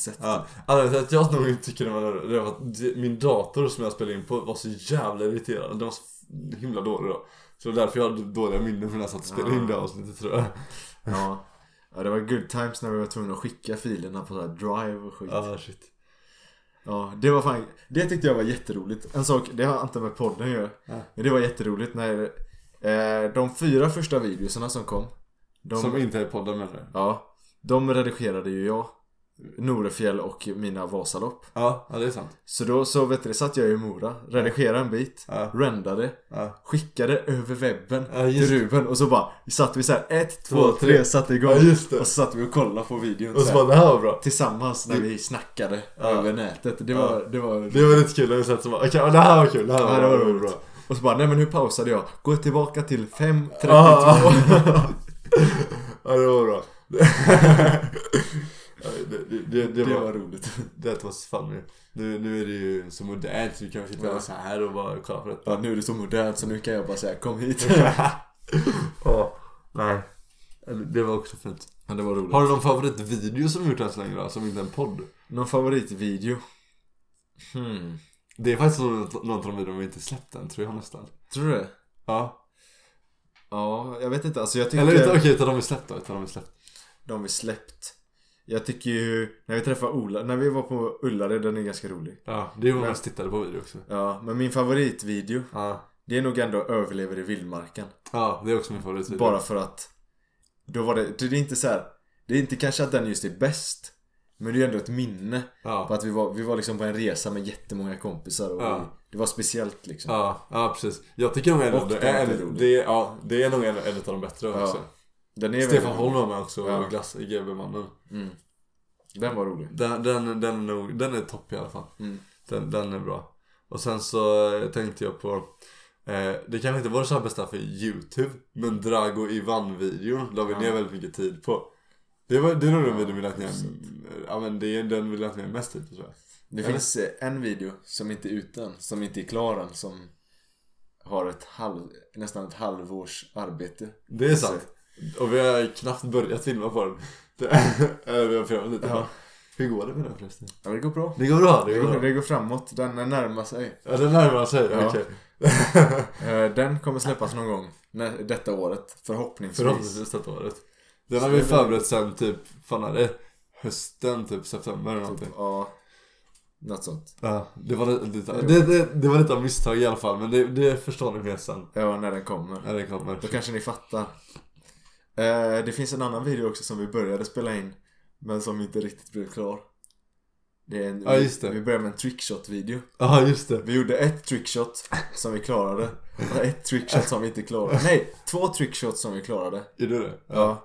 [SPEAKER 2] sätt.
[SPEAKER 1] Ja, anledningen till att jag nog inte tycker det var roligt, det var att det- min dator som jag spelade in på var så jävla irriterande. Den var så f- himla dålig då. Så det var därför jag hade dåliga minnen från när jag satt och spelade in det avsnittet tror jag.
[SPEAKER 2] Ja. ja, det var good times när vi var tvungna att skicka filerna på så här drive och skit.
[SPEAKER 1] Ja, Ah, shit.
[SPEAKER 2] Ja, det var fan, det tyckte jag var jätteroligt. En sak, det har inte med podden att göra.
[SPEAKER 1] Ja.
[SPEAKER 2] Men det var jätteroligt när eh, de fyra första videorna som kom. De,
[SPEAKER 1] Som inte är i podden menar du?
[SPEAKER 2] Ja, de redigerade ju jag. Norefjäll och mina Vasalopp.
[SPEAKER 1] Ja, ja det är sant.
[SPEAKER 2] Så då så vet du, satt jag i Mora, redigerade en bit,
[SPEAKER 1] Ja.
[SPEAKER 2] rendade,
[SPEAKER 1] Ja.
[SPEAKER 2] skickade över webben
[SPEAKER 1] Ja,
[SPEAKER 2] till
[SPEAKER 1] just
[SPEAKER 2] Ruben och så bara satt vi så här ett, två,
[SPEAKER 1] Två,
[SPEAKER 2] tre,
[SPEAKER 1] tre.
[SPEAKER 2] satte igång.
[SPEAKER 1] Ja, just det.
[SPEAKER 2] Och så satt vi och kollade på videon
[SPEAKER 1] Och
[SPEAKER 2] så
[SPEAKER 1] så
[SPEAKER 2] här,
[SPEAKER 1] bara, det här var bra.
[SPEAKER 2] tillsammans när vi snackade
[SPEAKER 1] Ja.
[SPEAKER 2] över nätet. Det var, det var
[SPEAKER 1] Det var lite kul, när vi satt så bara, okej, ja, det här var kul, det här var,
[SPEAKER 2] Ja, det var
[SPEAKER 1] det
[SPEAKER 2] roligt. Och så bara, nej men hur pausade jag? Gå tillbaka till 5.32
[SPEAKER 1] Ja, ja, det var bra. Ja, det, det, det, det,
[SPEAKER 2] Det
[SPEAKER 1] var,
[SPEAKER 2] var roligt
[SPEAKER 1] That was funny. Nu, nu är det ju så modernt så vi kan sitta
[SPEAKER 2] Ja.
[SPEAKER 1] så här och bara kolla på det.
[SPEAKER 2] ja, Nu är det så modernt så nu kan jag bara säga kom hit
[SPEAKER 1] Ja, nej. Eller, Det var också fint.
[SPEAKER 2] Men det var roligt
[SPEAKER 1] Har du någon favoritvideo som vi gjort än så länge då? Som inte är en podd?
[SPEAKER 2] Någon favoritvideo? Hmm
[SPEAKER 1] Det är faktiskt någon, någon av de videorna vi inte släppt än tror jag nästan.
[SPEAKER 2] Tror du det?
[SPEAKER 1] Ja.
[SPEAKER 2] Ja, jag vet inte alltså jag tycker
[SPEAKER 1] Eller utan, okej, utan de vi släppt då. Utan de vi släppt.
[SPEAKER 2] de vi släppt Jag tycker ju när vi träffade Ola, när vi var på Ullared, den är ganska rolig
[SPEAKER 1] Ja, det var
[SPEAKER 2] Men-
[SPEAKER 1] mest tittade på video också.
[SPEAKER 2] Ja, men min favoritvideo
[SPEAKER 1] Ja.
[SPEAKER 2] Det är nog ändå Överlever i vildmarken
[SPEAKER 1] Ja, det är också min favoritvideo.
[SPEAKER 2] Bara för att Då var det, det är inte så här. Det är inte kanske att den just är bäst Men det är ju ändå ett minne På
[SPEAKER 1] Ja.
[SPEAKER 2] att vi var, vi var liksom på en resa med jättemånga kompisar och
[SPEAKER 1] Ja.
[SPEAKER 2] vi, det var speciellt liksom.
[SPEAKER 1] Ja, ja, precis. Jag tycker nog en av
[SPEAKER 2] Och
[SPEAKER 1] de-
[SPEAKER 2] den är
[SPEAKER 1] en-
[SPEAKER 2] rolig.
[SPEAKER 1] det är, ja, det är nog en, en av de bättre
[SPEAKER 2] Ja.
[SPEAKER 1] också.
[SPEAKER 2] Den är
[SPEAKER 1] Stefan
[SPEAKER 2] väldigt-
[SPEAKER 1] Holm var med också,
[SPEAKER 2] Ja.
[SPEAKER 1] ja. glass, GB-mannen.
[SPEAKER 2] Mm. Den var rolig.
[SPEAKER 1] Den, den, den, är nog, den är topp i alla fall.
[SPEAKER 2] Mm.
[SPEAKER 1] Den, den är bra. Och sen så eh, tänkte jag på eh, Det kanske inte var det så här bästa för YouTube Men Drago Ivan-videon la vi
[SPEAKER 2] Ja.
[SPEAKER 1] ner väldigt mycket tid på Det, var, det är nog den
[SPEAKER 2] Ja,
[SPEAKER 1] videon vi lagt ner
[SPEAKER 2] hyfsat.
[SPEAKER 1] Ja men det är den vi lagt ner mest tid på tror jag
[SPEAKER 2] Det
[SPEAKER 1] Eller?
[SPEAKER 2] finns eh, en video som inte är ute än, som inte är klar än, som har ett halv, nästan ett halvårs arbete.
[SPEAKER 1] Det är sant Och vi har knappt börjat filma på den det, eh, Vi har filmat lite
[SPEAKER 2] Ja.
[SPEAKER 1] ja. Hur går det med den förresten?
[SPEAKER 2] Ja, det går bra.
[SPEAKER 1] Det går bra, det
[SPEAKER 2] Det
[SPEAKER 1] går
[SPEAKER 2] går,
[SPEAKER 1] bra
[SPEAKER 2] det går framåt, den närmar sig.
[SPEAKER 1] Ja den närmar sig,
[SPEAKER 2] Ja.
[SPEAKER 1] okej
[SPEAKER 2] Eh, Den kommer släppas någon gång när, detta året, förhoppningsvis.
[SPEAKER 1] Förhoppningsvis detta året Den har
[SPEAKER 2] Så
[SPEAKER 1] vi
[SPEAKER 2] det-
[SPEAKER 1] förberett sen typ, fan är det hösten typ september eller någonting
[SPEAKER 2] Typ, ja, något sånt.
[SPEAKER 1] Ja, det var lite, det, det, det var lite av misstag i alla fall men det, det förstår ni mer sen
[SPEAKER 2] Ja, när den kommer.
[SPEAKER 1] när det kommer.
[SPEAKER 2] Då kanske ni fattar. Eh, det finns en annan video också som vi började spela in men som inte riktigt blev klar. Det är en,
[SPEAKER 1] Ja, just det.
[SPEAKER 2] Vi började med en trickshot-video.
[SPEAKER 1] Ja, just det.
[SPEAKER 2] Vi gjorde ett trickshot som vi klarade och ett trickshot som vi inte klarade. Nej, två trickshots som vi klarade.
[SPEAKER 1] Gjorde du det?
[SPEAKER 2] Ja.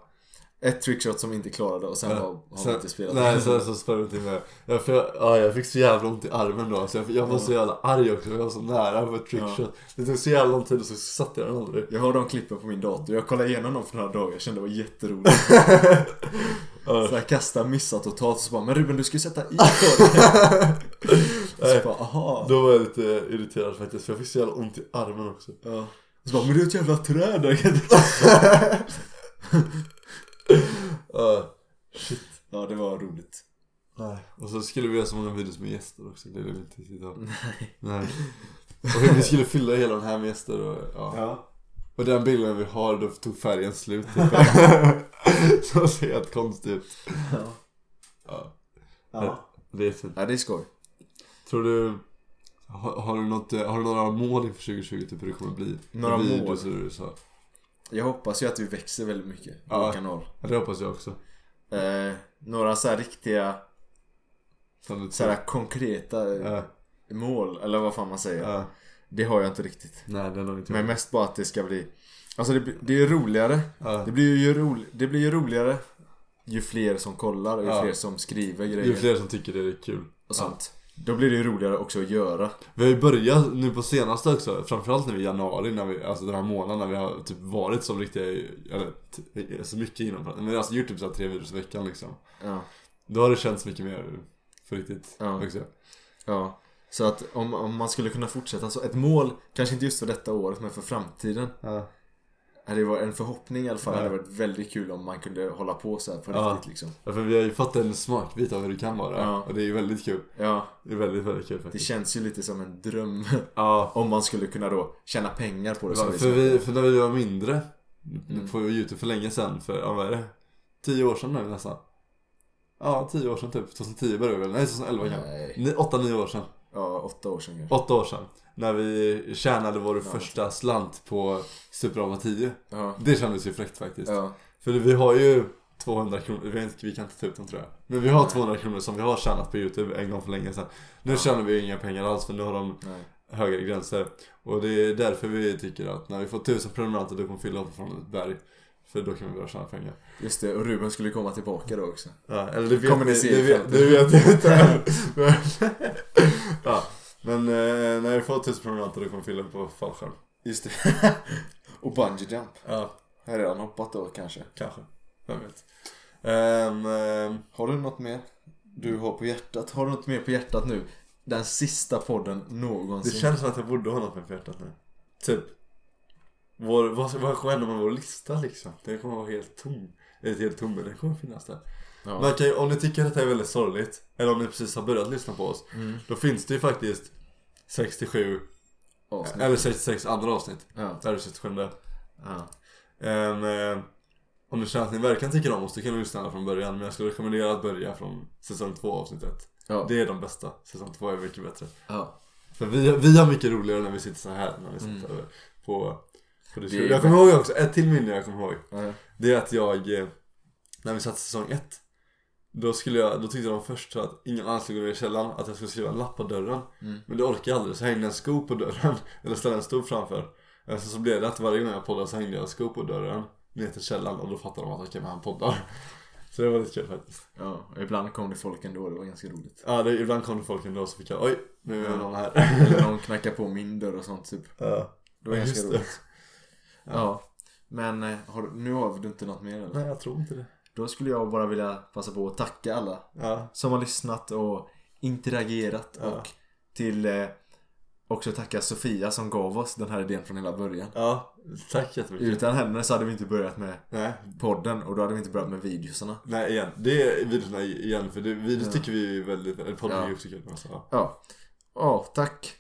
[SPEAKER 2] Ett trickshot som vi inte klarade och sen har, har vi
[SPEAKER 1] Sen,
[SPEAKER 2] inte spelat.
[SPEAKER 1] nej, sen så spelade jag inte med. Ja, för jag, ja, jag fick så jävla ont i armen då. Så jag, jag var så jävla arg också. Jag var så nära på ett trickshot. Det tog så jävla lång tid och så satte jag den aldrig.
[SPEAKER 2] Jag har de klippen på min dator. Jag kollade igenom dem för några dagar. Jag kände det var jätteroligt.
[SPEAKER 1] Ja.
[SPEAKER 2] Så jag kastade, missat totalt. Så bara, men Ruben du ska ju sätta i korgen. Så bara, aha.
[SPEAKER 1] Då var jag lite irriterad faktiskt. För jag fick så jävla ont i armen också.
[SPEAKER 2] Ja. Och så bara, men det är ett jävla träd där.
[SPEAKER 1] Ja.
[SPEAKER 2] Ja, det var roligt.
[SPEAKER 1] Nej. Och så skulle vi göra så många videos med gäster också. Det blev inte riktigt av.
[SPEAKER 2] Nej.
[SPEAKER 1] Nej. Och hur vi skulle fylla hela den här med gäster och ja. Och den bilden vi har, då tog färgen slut typ. Så ser helt konstigt ut.
[SPEAKER 2] Ja.
[SPEAKER 1] Ja,
[SPEAKER 2] Ja.
[SPEAKER 1] det är fint.
[SPEAKER 2] ja, det är skoj.
[SPEAKER 1] Tror du... Har, har, du något, eh, har du några mål inför 2020 typ hur det kommer bli?
[SPEAKER 2] Några
[SPEAKER 1] Videos
[SPEAKER 2] mål?
[SPEAKER 1] och det du sa.
[SPEAKER 2] Jag hoppas ju att vi växer väldigt mycket,
[SPEAKER 1] Ja.
[SPEAKER 2] vår kanal.
[SPEAKER 1] Ja, det hoppas jag också.
[SPEAKER 2] Eh, några så här riktiga,
[SPEAKER 1] Sen lite
[SPEAKER 2] så här konkreta eh,
[SPEAKER 1] Ja,
[SPEAKER 2] mål, eller vad fan man säger.
[SPEAKER 1] ja.
[SPEAKER 2] Det har jag inte riktigt.
[SPEAKER 1] Nej, det är nog inte
[SPEAKER 2] Men mest bara att det ska bli... Alltså det, blir- det är roligare.
[SPEAKER 1] Ja.
[SPEAKER 2] Det blir ju, rolig, det blir ju roligare ju fler som kollar och ju
[SPEAKER 1] Ja.
[SPEAKER 2] fler som skriver
[SPEAKER 1] Det är ju
[SPEAKER 2] grejer.
[SPEAKER 1] fler som tycker det är kul.
[SPEAKER 2] och sånt. Då blir det ju roligare också att göra.
[SPEAKER 1] Vi har ju börjat nu på senaste också, framförallt nu i januari, när vi, alltså den här månaden när vi har typ varit som riktiga, eller t- så mycket inom men alltså gjort typ såhär tre videos i veckan liksom.
[SPEAKER 2] Ja.
[SPEAKER 1] Då har det känts mycket mer för riktigt
[SPEAKER 2] Ja.
[SPEAKER 1] också.
[SPEAKER 2] ja. Så att om, om man skulle kunna fortsätta så ett mål, kanske inte just för detta året men för framtiden.
[SPEAKER 1] Ja.
[SPEAKER 2] Hade det varit en förhoppning i alla fall.
[SPEAKER 1] Ja.
[SPEAKER 2] Hade det varit väldigt kul om man kunde hålla på så här på
[SPEAKER 1] Ja.
[SPEAKER 2] riktigt liksom.
[SPEAKER 1] Ja, för vi har ju fått en smakbit av hur det kan vara
[SPEAKER 2] Ja.
[SPEAKER 1] och det är ju väldigt kul.
[SPEAKER 2] Ja,
[SPEAKER 1] Det är väldigt, väldigt kul
[SPEAKER 2] det
[SPEAKER 1] faktiskt.
[SPEAKER 2] känns ju lite som en dröm.
[SPEAKER 1] Ja,
[SPEAKER 2] Om man skulle kunna då tjäna pengar på det. som
[SPEAKER 1] för, vi, för när vi var mindre
[SPEAKER 2] Mm.
[SPEAKER 1] på Youtube för länge sedan, för ja, vad är det? Tio år sedan nu nästan. Ja, tio år sedan typ. 2010 började vi väl? Nej, 2011 kanske.
[SPEAKER 2] Nej.
[SPEAKER 1] Ni- Åtta, nio år sedan.
[SPEAKER 2] Ja, åtta år sedan kanske.
[SPEAKER 1] Åtta år sedan. När vi tjänade vår
[SPEAKER 2] Ja.
[SPEAKER 1] första slant på Superama 10.
[SPEAKER 2] Ja.
[SPEAKER 1] Det kändes ju fräckt faktiskt.
[SPEAKER 2] Ja.
[SPEAKER 1] För vi har ju 200 kronor, vi, har inte, vi kan inte ta ut dem tror jag. Men vi har 200 kronor som vi har tjänat på YouTube en gång för länge sedan. Nu
[SPEAKER 2] Ja.
[SPEAKER 1] tjänar vi ju inga pengar alls för nu har de
[SPEAKER 2] Nej.
[SPEAKER 1] högre gränser. Och det är därför vi tycker att när vi får 1000 prenumeranter då kommer Fille hoppa från ett berg. För då kan vi börja tjäna pengar.
[SPEAKER 2] Just det, och Ruben skulle komma tillbaka då också.
[SPEAKER 1] Ja, eller det vet
[SPEAKER 2] Kommer ni
[SPEAKER 1] ni-
[SPEAKER 2] se
[SPEAKER 1] det
[SPEAKER 2] i
[SPEAKER 1] vet,
[SPEAKER 2] framtiden.
[SPEAKER 1] det vet jag inte än. Men, ja. Men eh, när vi får 1000 prenumeranter då kommer Fille på fallskärm.
[SPEAKER 2] Just det. och bungee jump.
[SPEAKER 1] Ja,
[SPEAKER 2] Har jag redan hoppat då kanske.
[SPEAKER 1] kanske. Vem vet. Ehm, ehm,
[SPEAKER 2] Har du något mer du har på hjärtat? Har du något mer på hjärtat nu? Den sista podden
[SPEAKER 1] det
[SPEAKER 2] någonsin.
[SPEAKER 1] känns som att jag borde ha något med på hjärtat nu. Typ. Vår, vad ska- vad ska hända med vår lista liksom? Den kommer vara helt tom. Eller helt tom, men den kommer finnas där.
[SPEAKER 2] Ja.
[SPEAKER 1] Man kan, ju- om ni tycker att det är väldigt sorgligt, eller om ni precis har börjat lyssna på oss,
[SPEAKER 2] Mm.
[SPEAKER 1] då finns det ju faktiskt 67,
[SPEAKER 2] Avsnitt.
[SPEAKER 1] eller 66 andra avsnitt.
[SPEAKER 2] Ja.
[SPEAKER 1] Där är det 67.
[SPEAKER 2] Ja.
[SPEAKER 1] Ehm, eh, om ni känner att ni verkligen tycker om oss, då kan ni lyssna alla från början. Men jag skulle rekommendera att börja från säsong 2 avsnittet.
[SPEAKER 2] Ja.
[SPEAKER 1] Det är de bästa. Säsong 2 är mycket bättre.
[SPEAKER 2] ja.
[SPEAKER 1] För vi, vi har mycket roligare när vi sitter så här när vi sitter på, på det
[SPEAKER 2] Mm. är
[SPEAKER 1] Jag kommer ihåg också, ett till minne jag kommer ihåg.
[SPEAKER 2] Ja.
[SPEAKER 1] Det är att jag, eh, när vi satte säsong ett Då skulle jag, då tyckte de först så att ingen annan skulle gå ner i källaren Att jag skulle skriva en lapp på dörren
[SPEAKER 2] Mm.
[SPEAKER 1] Men det orkade jag aldrig så jag hängde en sko på dörren Eller ställde en stol framför Eh, Sen så blev det att varje gång jag poddade så hängde jag en sko på dörren Ner till källaren och då fattade de att okej men han poddar Så det var lite kul faktiskt
[SPEAKER 2] ja. Och ibland kom det folk ändå, det var ganska roligt.
[SPEAKER 1] Ja det, ibland kom det folk ändå så fick jag oj nu är
[SPEAKER 2] Ja.
[SPEAKER 1] någon här
[SPEAKER 2] Eller någon knackade på min dörr och sånt typ.
[SPEAKER 1] Ja,
[SPEAKER 2] Det var ganska
[SPEAKER 1] just det.
[SPEAKER 2] roligt. Ja. Men eh, har, du- nu har du inte något mer eller?
[SPEAKER 1] Nej jag tror inte det
[SPEAKER 2] Då skulle jag bara vilja passa på att tacka alla
[SPEAKER 1] Ja,
[SPEAKER 2] som har lyssnat och interagerat
[SPEAKER 1] Ja.
[SPEAKER 2] och till eh, också tacka Sofia som gav oss den här idén från hela början.
[SPEAKER 1] ja tack jättemycket
[SPEAKER 2] Utan henne så hade vi inte börjat med
[SPEAKER 1] Nej,
[SPEAKER 2] podden och då hade vi inte börjat med videosarna.
[SPEAKER 1] nej igen. Det är videorna igen för det, videos
[SPEAKER 2] Ja.
[SPEAKER 1] tycker vi är väldigt, eller podden är
[SPEAKER 2] Ja.
[SPEAKER 1] ju också kul. Alltså. Ja.
[SPEAKER 2] Ja. Ja, tack.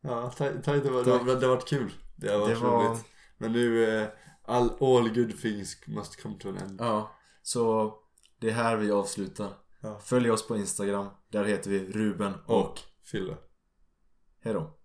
[SPEAKER 1] Ja, tack. tack, det, var,
[SPEAKER 2] Tack.
[SPEAKER 1] Det, har varit kul. Det har
[SPEAKER 2] Det
[SPEAKER 1] varit
[SPEAKER 2] var-
[SPEAKER 1] roligt. Men nu, eh, all, all good things must come to an end.
[SPEAKER 2] Ja. Så det är här vi avslutar.
[SPEAKER 1] Ja.
[SPEAKER 2] Följ oss på Instagram. Där heter vi Ruben och
[SPEAKER 1] Och Fille.
[SPEAKER 2] hejdå.